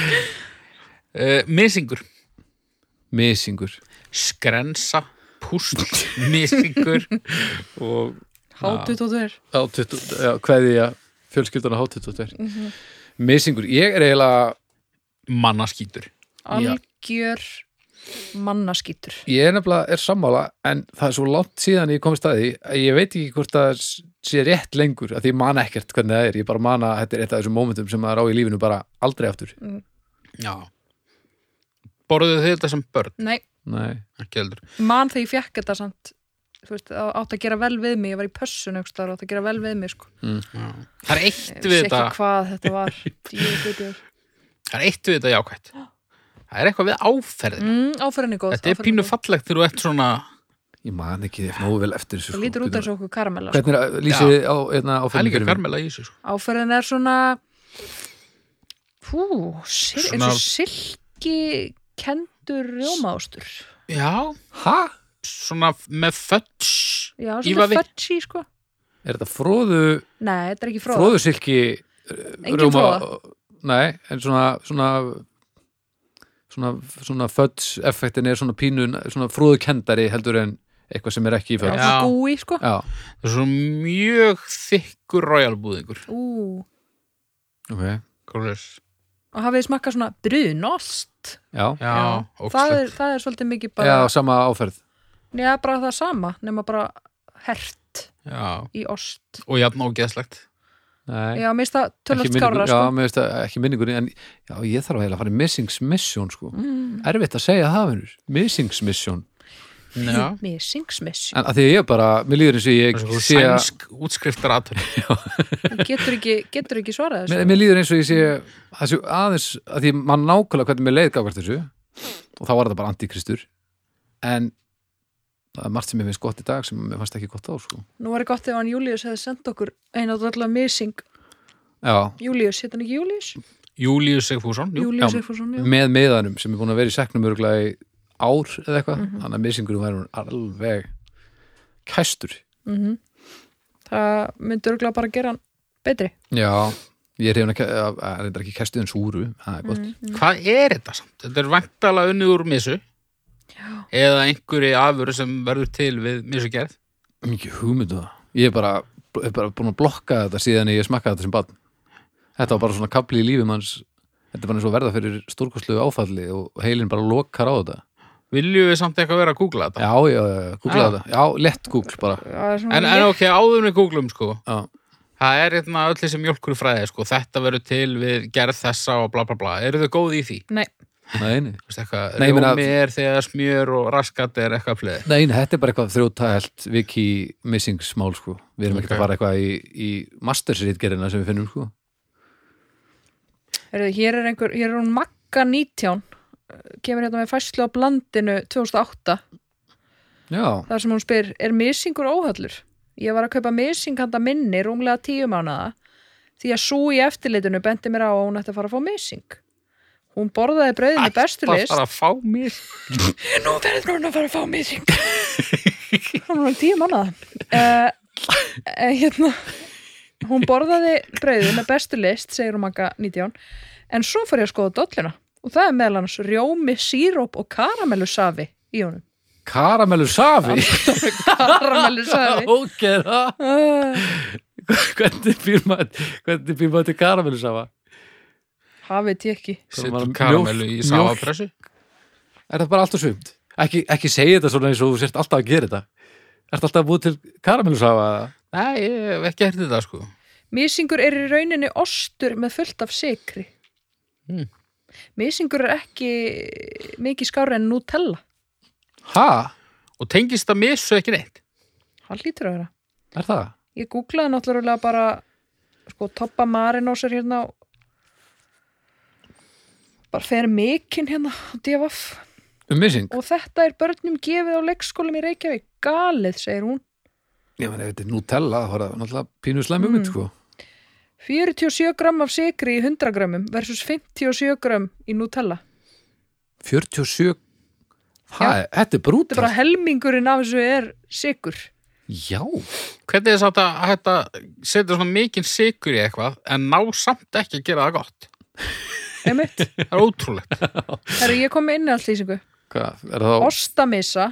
Speaker 3: Eh, uh, misingur,
Speaker 1: misingur
Speaker 3: skrensa, púsl, misingur og
Speaker 2: Hátut og þér
Speaker 1: hverði ég fjölskyldana hátutóttir
Speaker 2: Mhm.
Speaker 1: misingur, ég er eiginlega
Speaker 3: mannaskýtur.
Speaker 2: Algjör mannaskýtur
Speaker 1: ég er nefnilega er sammála en það er svo langt síðan ég komið staði að ég veit ekki hvort það sé rétt lengur að því ég man ekkert hvernig það er ég bara man að þetta er eitt af þessum mómentum sem maður á í lífinu bara aldrei aftur
Speaker 3: Já. Borðuðu þið þetta sem börn,
Speaker 2: Nei,
Speaker 1: Nei.
Speaker 3: ekki heldur.
Speaker 2: mann þegar ég fekk þetta samt Þú veist, á- átt að gera vel við mig, ég var í pössun einhvers staðar, átt að gera vel við mig sko.
Speaker 3: Já. Það er
Speaker 2: Ég
Speaker 3: eitt við
Speaker 2: vissi
Speaker 3: þetta,
Speaker 2: ekki hvað þetta var Djöfull.
Speaker 3: það er eitt við þetta jákvætt. Það er eitthvað við áferðin.
Speaker 2: mm, Áferðin er góð
Speaker 3: Þetta er
Speaker 2: áferðin
Speaker 3: pínu
Speaker 2: góð.
Speaker 3: fallegt þegar þú ert svona,
Speaker 1: ég man ekki nógu vel eftir þessu
Speaker 2: Það
Speaker 1: sko.
Speaker 2: lítur út eins og okkur karamella sko.
Speaker 1: hvernig er að- lýsið þið á, hérna, á
Speaker 3: það er líka
Speaker 1: fyrir
Speaker 3: karmela í þessu. Sko.
Speaker 2: Áferðin er svona Pú, sil, eins
Speaker 3: Svona-
Speaker 2: og silki kendur rjómaðustur
Speaker 3: Já,
Speaker 1: ha?
Speaker 3: svona með fötts.
Speaker 2: Já,
Speaker 3: Í
Speaker 2: svona
Speaker 3: vafi.
Speaker 2: fudgy sko
Speaker 1: er þetta fróðu
Speaker 2: Nei, þetta er ekki fróð
Speaker 1: fróðusilki
Speaker 2: Engin
Speaker 1: nei, en svona svona svona, svona föds effektin er svona pínun svona fróðukendari heldur en eitthvað sem er ekki í föds
Speaker 3: Já.
Speaker 2: Svona gúi sko
Speaker 1: já,
Speaker 3: Það er svo mjög þykkur royalbúðingur.
Speaker 2: Ú,
Speaker 1: ok
Speaker 3: Kólis.
Speaker 2: og hafið þið smakkað svona brunost
Speaker 1: Já,
Speaker 3: Já,
Speaker 2: það
Speaker 3: ógstlega.
Speaker 2: er, það er svolítið mikið bara
Speaker 1: já sama áferð
Speaker 2: Já, bara það sama, nema bara hert
Speaker 3: Já,
Speaker 2: í ost.
Speaker 3: og jafn ógeðslegt.
Speaker 1: Nei,
Speaker 2: Já, mér finnst það tölvöld skárra,
Speaker 1: Já,
Speaker 2: sko.
Speaker 1: mér veist að ekki minningur En já, ég þarf að heila að fara í Missings Mission sko.
Speaker 2: Mm.
Speaker 1: Erfitt að segja það, vinnur Missings Mission
Speaker 3: Já.
Speaker 2: Mm, Mér syngsmiss.
Speaker 1: En að því að ég bara, mér líður eins og ég
Speaker 3: Svo
Speaker 1: sé að
Speaker 3: Sænsk útskriftar aðtönd.
Speaker 2: Getur ekki, getur ekki svarað
Speaker 1: mér,
Speaker 2: þessu.
Speaker 1: mér líður eins og ég sé að sé aðeins að því mann nákvæmlega hvernig mér leið gafkvært þessu og þá var þetta bara antikristur En það er margt sem ég finnst gott í dag sem mér fannst ekki gott á sko.
Speaker 2: Nú var það gott ef hann Július hefði sendt okkur eina og allavega mér syng.
Speaker 1: Já,
Speaker 2: Július, hétt hann ekki Július?
Speaker 3: Júlíus Sigfússon, jú.
Speaker 2: Július
Speaker 1: já.
Speaker 2: eitthvað svona, já.
Speaker 1: með meðanum sem er búin að vera í seknum örgulega í ár eða eitthvað þannig að missingurum verður alveg kæstur
Speaker 2: Mhm. Það myndi örgulega bara gera hann betri.
Speaker 1: já, ég er hefna reyndar ekki kæstuð en súru, það er gott
Speaker 3: Hvað er þetta samt? Þetta er væntalega unnið úr misu. Já. Eða einhverju afur sem verður til við misugerð.
Speaker 1: mikið hugmyndu það ég er bara, er bara búin að blokka þetta síðan ég smakkaði þetta sem barn þetta var bara svona kapli í lífi manns þetta er bara eins og verða fyrir stórkoslu áfalli og heilin bara lokar á þetta
Speaker 3: Viljum við samt eitthvað vera að googla þetta?
Speaker 1: já, já, já, googlaði þetta, já, lett google bara
Speaker 2: Það er
Speaker 3: En,
Speaker 2: svona
Speaker 3: en
Speaker 2: létt-
Speaker 3: ok, áður við googlum sko.
Speaker 1: já,
Speaker 3: Það er hérna öll þessi mjölkur fræði sko. Þetta verður til við gerð þessa og bla bla bla. Eru þau góð í því?
Speaker 2: Nei,
Speaker 1: nei, nei
Speaker 3: Þú veist eitthvað,
Speaker 1: Nei, ég meina-
Speaker 3: rjómi er þegar smjör og raskat er eitthvað fleði.
Speaker 1: Nei, nei, þetta er bara eitthvað þrjótaðhelt viki missingsmál sko. Við erum ekkert
Speaker 3: Ok.
Speaker 1: að fara eitthvað í, í mastersritgerina sem við finnum sko.
Speaker 2: heyrðu, hér er einhver, hér er hún Magga 19, kemur hérna með fæslu á blandinu 2008.
Speaker 1: Já,
Speaker 2: þar sem hún spyr, er misingur óhöllur? Ég var að kaupa mising handa minni rúmlega tíu mánada því að svo í eftirlitinu bendi mér á að hún ætti að fara að fá mising. Hún borðaði brauðið með bestu
Speaker 3: Það
Speaker 2: list.
Speaker 3: þarf að fá mér.
Speaker 2: Nú verður hún að fara að fá mising. hún var tíu mánada. Uh, uh, hérna, hún borðaði brauðið með bestu list, segir hún manga 19, en svo fór ég að skoða dolluna og það er meðal hans rjómi, síróp og karamellusafi í honum.
Speaker 1: karamellur safi
Speaker 2: Karamellusafi.
Speaker 1: Ok, það
Speaker 2: Uh.
Speaker 1: Hvernig býr maður hvernig býr maður til karamellur safa?
Speaker 2: Það veit ég ekki.
Speaker 3: Setur
Speaker 1: Bara
Speaker 3: karamellu
Speaker 1: mjólk-
Speaker 3: í
Speaker 1: mjólk.
Speaker 3: sáfapressu.
Speaker 1: Er það bara allt og sumt? Ekki, ekki segja þetta svona eins og þú sért alltaf að gera þetta Ertu alltaf að búið til karamellur safa?
Speaker 3: Nei, ég hef ekki hert þetta sko.
Speaker 2: Mísingur er í rauninni ostur með fullt af sikri.
Speaker 3: Mm.
Speaker 2: Mísingur er ekki mikið skári en Nutella.
Speaker 1: Ha?
Speaker 3: Og tengist það misu ekki neitt.
Speaker 2: Það lítur að vera.
Speaker 1: Er það?
Speaker 2: Ég googlaði náttúrulega bara sko toppa Marinos er hérna og bara fer mikinn hérna á divaf
Speaker 1: Um missing?
Speaker 2: og þetta er börnum gefið á leikskólum í Reykjavík galið, segir hún
Speaker 1: Ég meni, ef þetta er Nutella, það var það náttúrulega pínu slæmi mm. sko.
Speaker 2: 47 gram af sikri í 100 gramum versus 57 gram í Nutella
Speaker 1: 47 Ha, þetta er brútt
Speaker 2: Þetta er bara helmingurinn af þessu er sikur
Speaker 1: Já
Speaker 3: Hvernig er þetta að hætta setja svona mikinn sigur í eitthvað en ná samt ekki að gera það gott?
Speaker 2: einmitt.
Speaker 3: Það er ótrúlegt.
Speaker 2: Herru, ég kom með innihaldlýsingu.
Speaker 1: Hvað, er það þá?
Speaker 2: Ostamissa,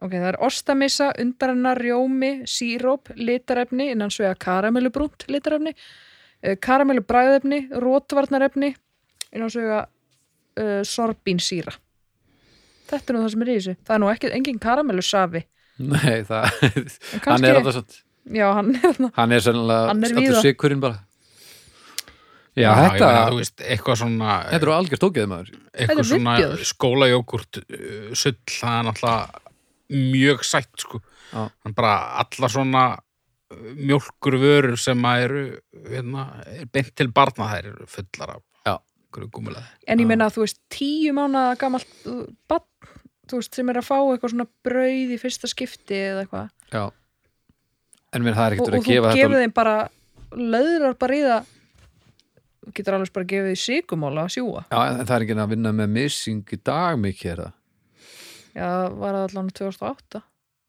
Speaker 2: ok, það er ostamissa, undarinnar, rjómi, síróp, litarefni, innan svega karamellubrúnt litarefni, eh, karamellubræðefni, rótvarnarefni, innan svega uh, sorbínsýra. Þetta er nú það sem er í þessu. Það er nú ekki, engin karamellusafi.
Speaker 1: Nei, það,
Speaker 2: En
Speaker 1: hann
Speaker 2: kannski,
Speaker 1: er alltaf svona,
Speaker 2: já, hann er þarna.
Speaker 1: hann er sennilega
Speaker 2: Hann er
Speaker 1: allur
Speaker 2: víða.
Speaker 1: sigurinn bara. Já,
Speaker 3: ég
Speaker 1: þetta,
Speaker 3: meina, þú veist, eitthvað svona,
Speaker 1: þetta eru algjör tókið maður.
Speaker 2: þetta
Speaker 3: eitthvað
Speaker 2: er
Speaker 3: svona
Speaker 2: viðbjóður.
Speaker 3: skólajógurt uh, sull, það er náttúrulega mjög sætt, sko.
Speaker 1: Já.
Speaker 3: Hann bara alla svona uh, mjólkur vörur sem að eru, hérna, er beint til barna, það eru fullar af.
Speaker 1: Já.
Speaker 3: Hverju gúmulega.
Speaker 2: En ég meina að þú veist, tíu mánaða gamalt bann, þú veist, sem er að fá eitthvað svona brauð í fyrsta skipti eða eitthvað.
Speaker 1: Já. En mér það er
Speaker 2: Og,
Speaker 1: ekkert verið
Speaker 2: og
Speaker 1: að
Speaker 2: þú
Speaker 1: gefa
Speaker 2: gefur
Speaker 1: þetta.
Speaker 2: þeim bara, löðrar bara í það, þú getur alveg bara gefið því sigumóla að sjúa.
Speaker 1: Já, en það er ekki að vinna með missing í dag mikið er það.
Speaker 2: Já, það var það allan 2008.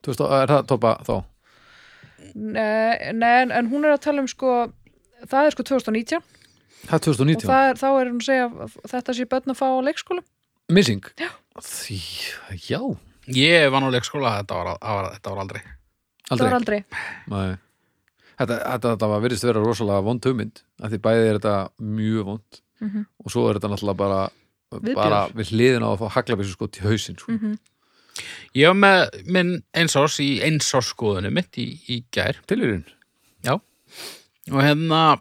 Speaker 1: Þú veist, er það topa þá?
Speaker 2: Nei, nei, en, en hún er að tala um sko, það er sko 2019
Speaker 1: Það er
Speaker 2: og
Speaker 1: 2019.
Speaker 2: það er, þá er hún að segja að þetta sé börn að fá á leikskóla.
Speaker 1: Missing? Já. Því, já,
Speaker 3: Ég var nú leikskóla, þetta var, var, þetta var aldrei.
Speaker 2: Það
Speaker 1: aldrei.
Speaker 2: var aldrei.
Speaker 1: Nei. Þetta, þetta, þetta var virðist vera rosalega vond hugmynd af því bæði er þetta mjög vond
Speaker 2: Mhm.
Speaker 1: og svo er þetta náttúrulega bara,
Speaker 2: Viðbjóður.
Speaker 1: bara við hliðin á að fá haglabissu sko til hausinn sko.
Speaker 2: Mhm.
Speaker 3: Ég var með minn einsás í einsásskoðunum mitt í, í gær
Speaker 1: Tilvíðin?
Speaker 3: og hérna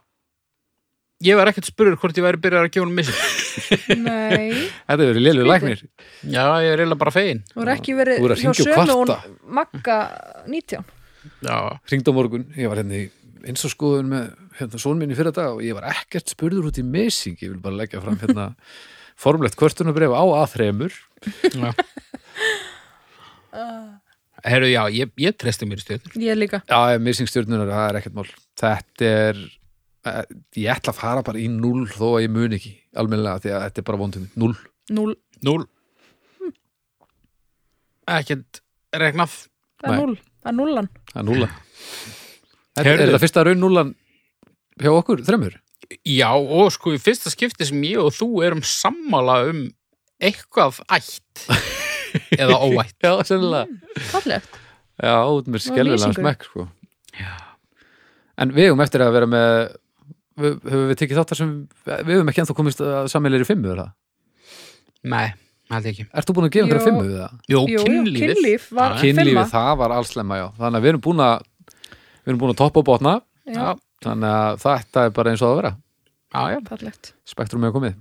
Speaker 3: ég var ekkert spurður hvort ég væri byrjar að gefa hún missing.
Speaker 2: Nei,
Speaker 1: Þetta er verið lélugur
Speaker 2: Skrítið.
Speaker 1: læknir
Speaker 3: Já, ég er eiginlega bara fegin.
Speaker 2: þú er ekki
Speaker 1: Þú
Speaker 2: verið
Speaker 1: er að hringja og kvarta.
Speaker 2: Magga 19.
Speaker 3: Já,
Speaker 1: Ringd á morgun, ég var hérna í eins og skoðun með hérna, són minni fyrir dag og ég var ekkert spurður út í missing ég vil bara leggja fram hérna formlegt kvörtunabref á aðþremur
Speaker 3: já. Herru, já, ég, ég treysti mér í stöður.
Speaker 2: Ég líka.
Speaker 1: Já, ég, missing stjórnunar, það er ekkert mál Þetta er eh, ég ætla að fara bara í null þó að ég mun ekki almennilega því að þetta er bara vondum null
Speaker 2: 0.
Speaker 3: Núl. Ekkert regnað.
Speaker 2: Það er
Speaker 1: Nei.
Speaker 2: 0. Það er 0.
Speaker 1: Það er núla Er, er
Speaker 3: Heyrðu.
Speaker 1: þetta fyrsta raun núlan hjá okkur, þremur?
Speaker 3: Já, og sko, í fyrsta skipti sem ég og þú erum sammála um eitthvað ætt eða óætt.
Speaker 1: Já, sennilega
Speaker 2: Mm. Fallegt.
Speaker 1: Já, út með skelvilega
Speaker 2: lýsingur.
Speaker 1: smekk sko. En við höfum eftir að vera með við, höfum við tekið þáttar sem við höfum ekki ennþá komist að sammelir í fimmu er það?
Speaker 3: Nei, held ég ekki.
Speaker 1: Ert þú búin að gefa
Speaker 2: Jú.
Speaker 1: einhverja fimmu við það?
Speaker 3: Jó,
Speaker 2: Jú, jú,
Speaker 3: kynlífið.
Speaker 2: kynlíf var-
Speaker 3: Já,
Speaker 1: Kynlífið,
Speaker 2: fimma.
Speaker 1: það var allslemma, já Þannig að við erum búin að við erum búin að toppa og botna
Speaker 2: Já,
Speaker 1: Þannig að þetta er bara eins og það á að vera
Speaker 3: Já, já.
Speaker 2: fallegt.
Speaker 1: Spektrum er komið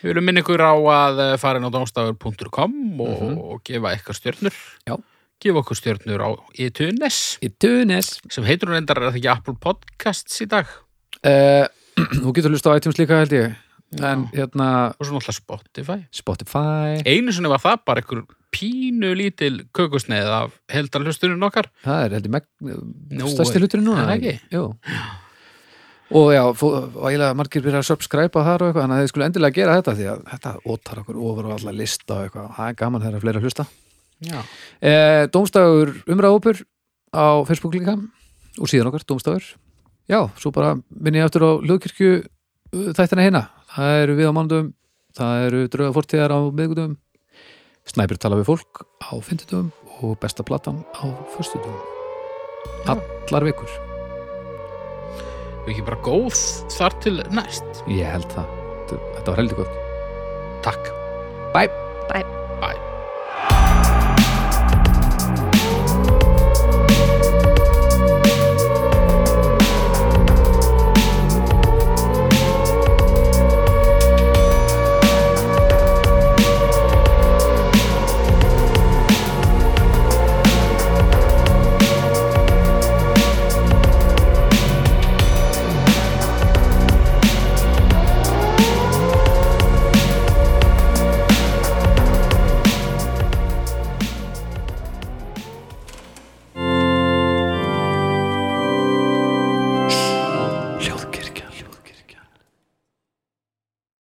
Speaker 3: Við viljum minna ykkur á að eh, fara inn á domstafur.com og, og gefa eitthvað stjörnur.
Speaker 1: Já.
Speaker 3: Gefa okkur stjörnur á iTunes
Speaker 1: Í Tunis
Speaker 3: sem heitur hún endar er það ekki Apple Podcasts í dag
Speaker 1: uh, Þú getur hlusta á iTunes líka held ég En hérna
Speaker 3: og svo náttúrulega Spotify.
Speaker 1: Spotify
Speaker 3: Einu sinni var það bara ykkur pínu lítil kökusneið af heldan hlustunum okkar.
Speaker 1: Það er heldur
Speaker 3: Nú,
Speaker 1: megn stærsti hluturinn núna
Speaker 3: er það ekki?
Speaker 1: Jú Og já, vægilega margir byrja að subscribe á þar og eitthvað, þannig að þið skulle endilega gera þetta því að þetta ótar okkur ofur og alla lista og eitthvað, það er gaman þegar að fleira hlusta
Speaker 3: Já.
Speaker 1: e, Dómstafur umræðópur á Facebook líka og síðan okkar, Dómstafur Já, svo bara minni ég aftur á hljóðkirkju uh, þættina hérna, það eru við á mánudum það eru drauga fortíðar á miðgudum Snæpir tala við fólk á fyndutum og besta platan á fyrstutum Allar vikur
Speaker 3: Við ekki bara góð þar til næst.
Speaker 1: Ég held það. Þetta- Þetta var heldur gott.
Speaker 3: Takk.
Speaker 1: Bye!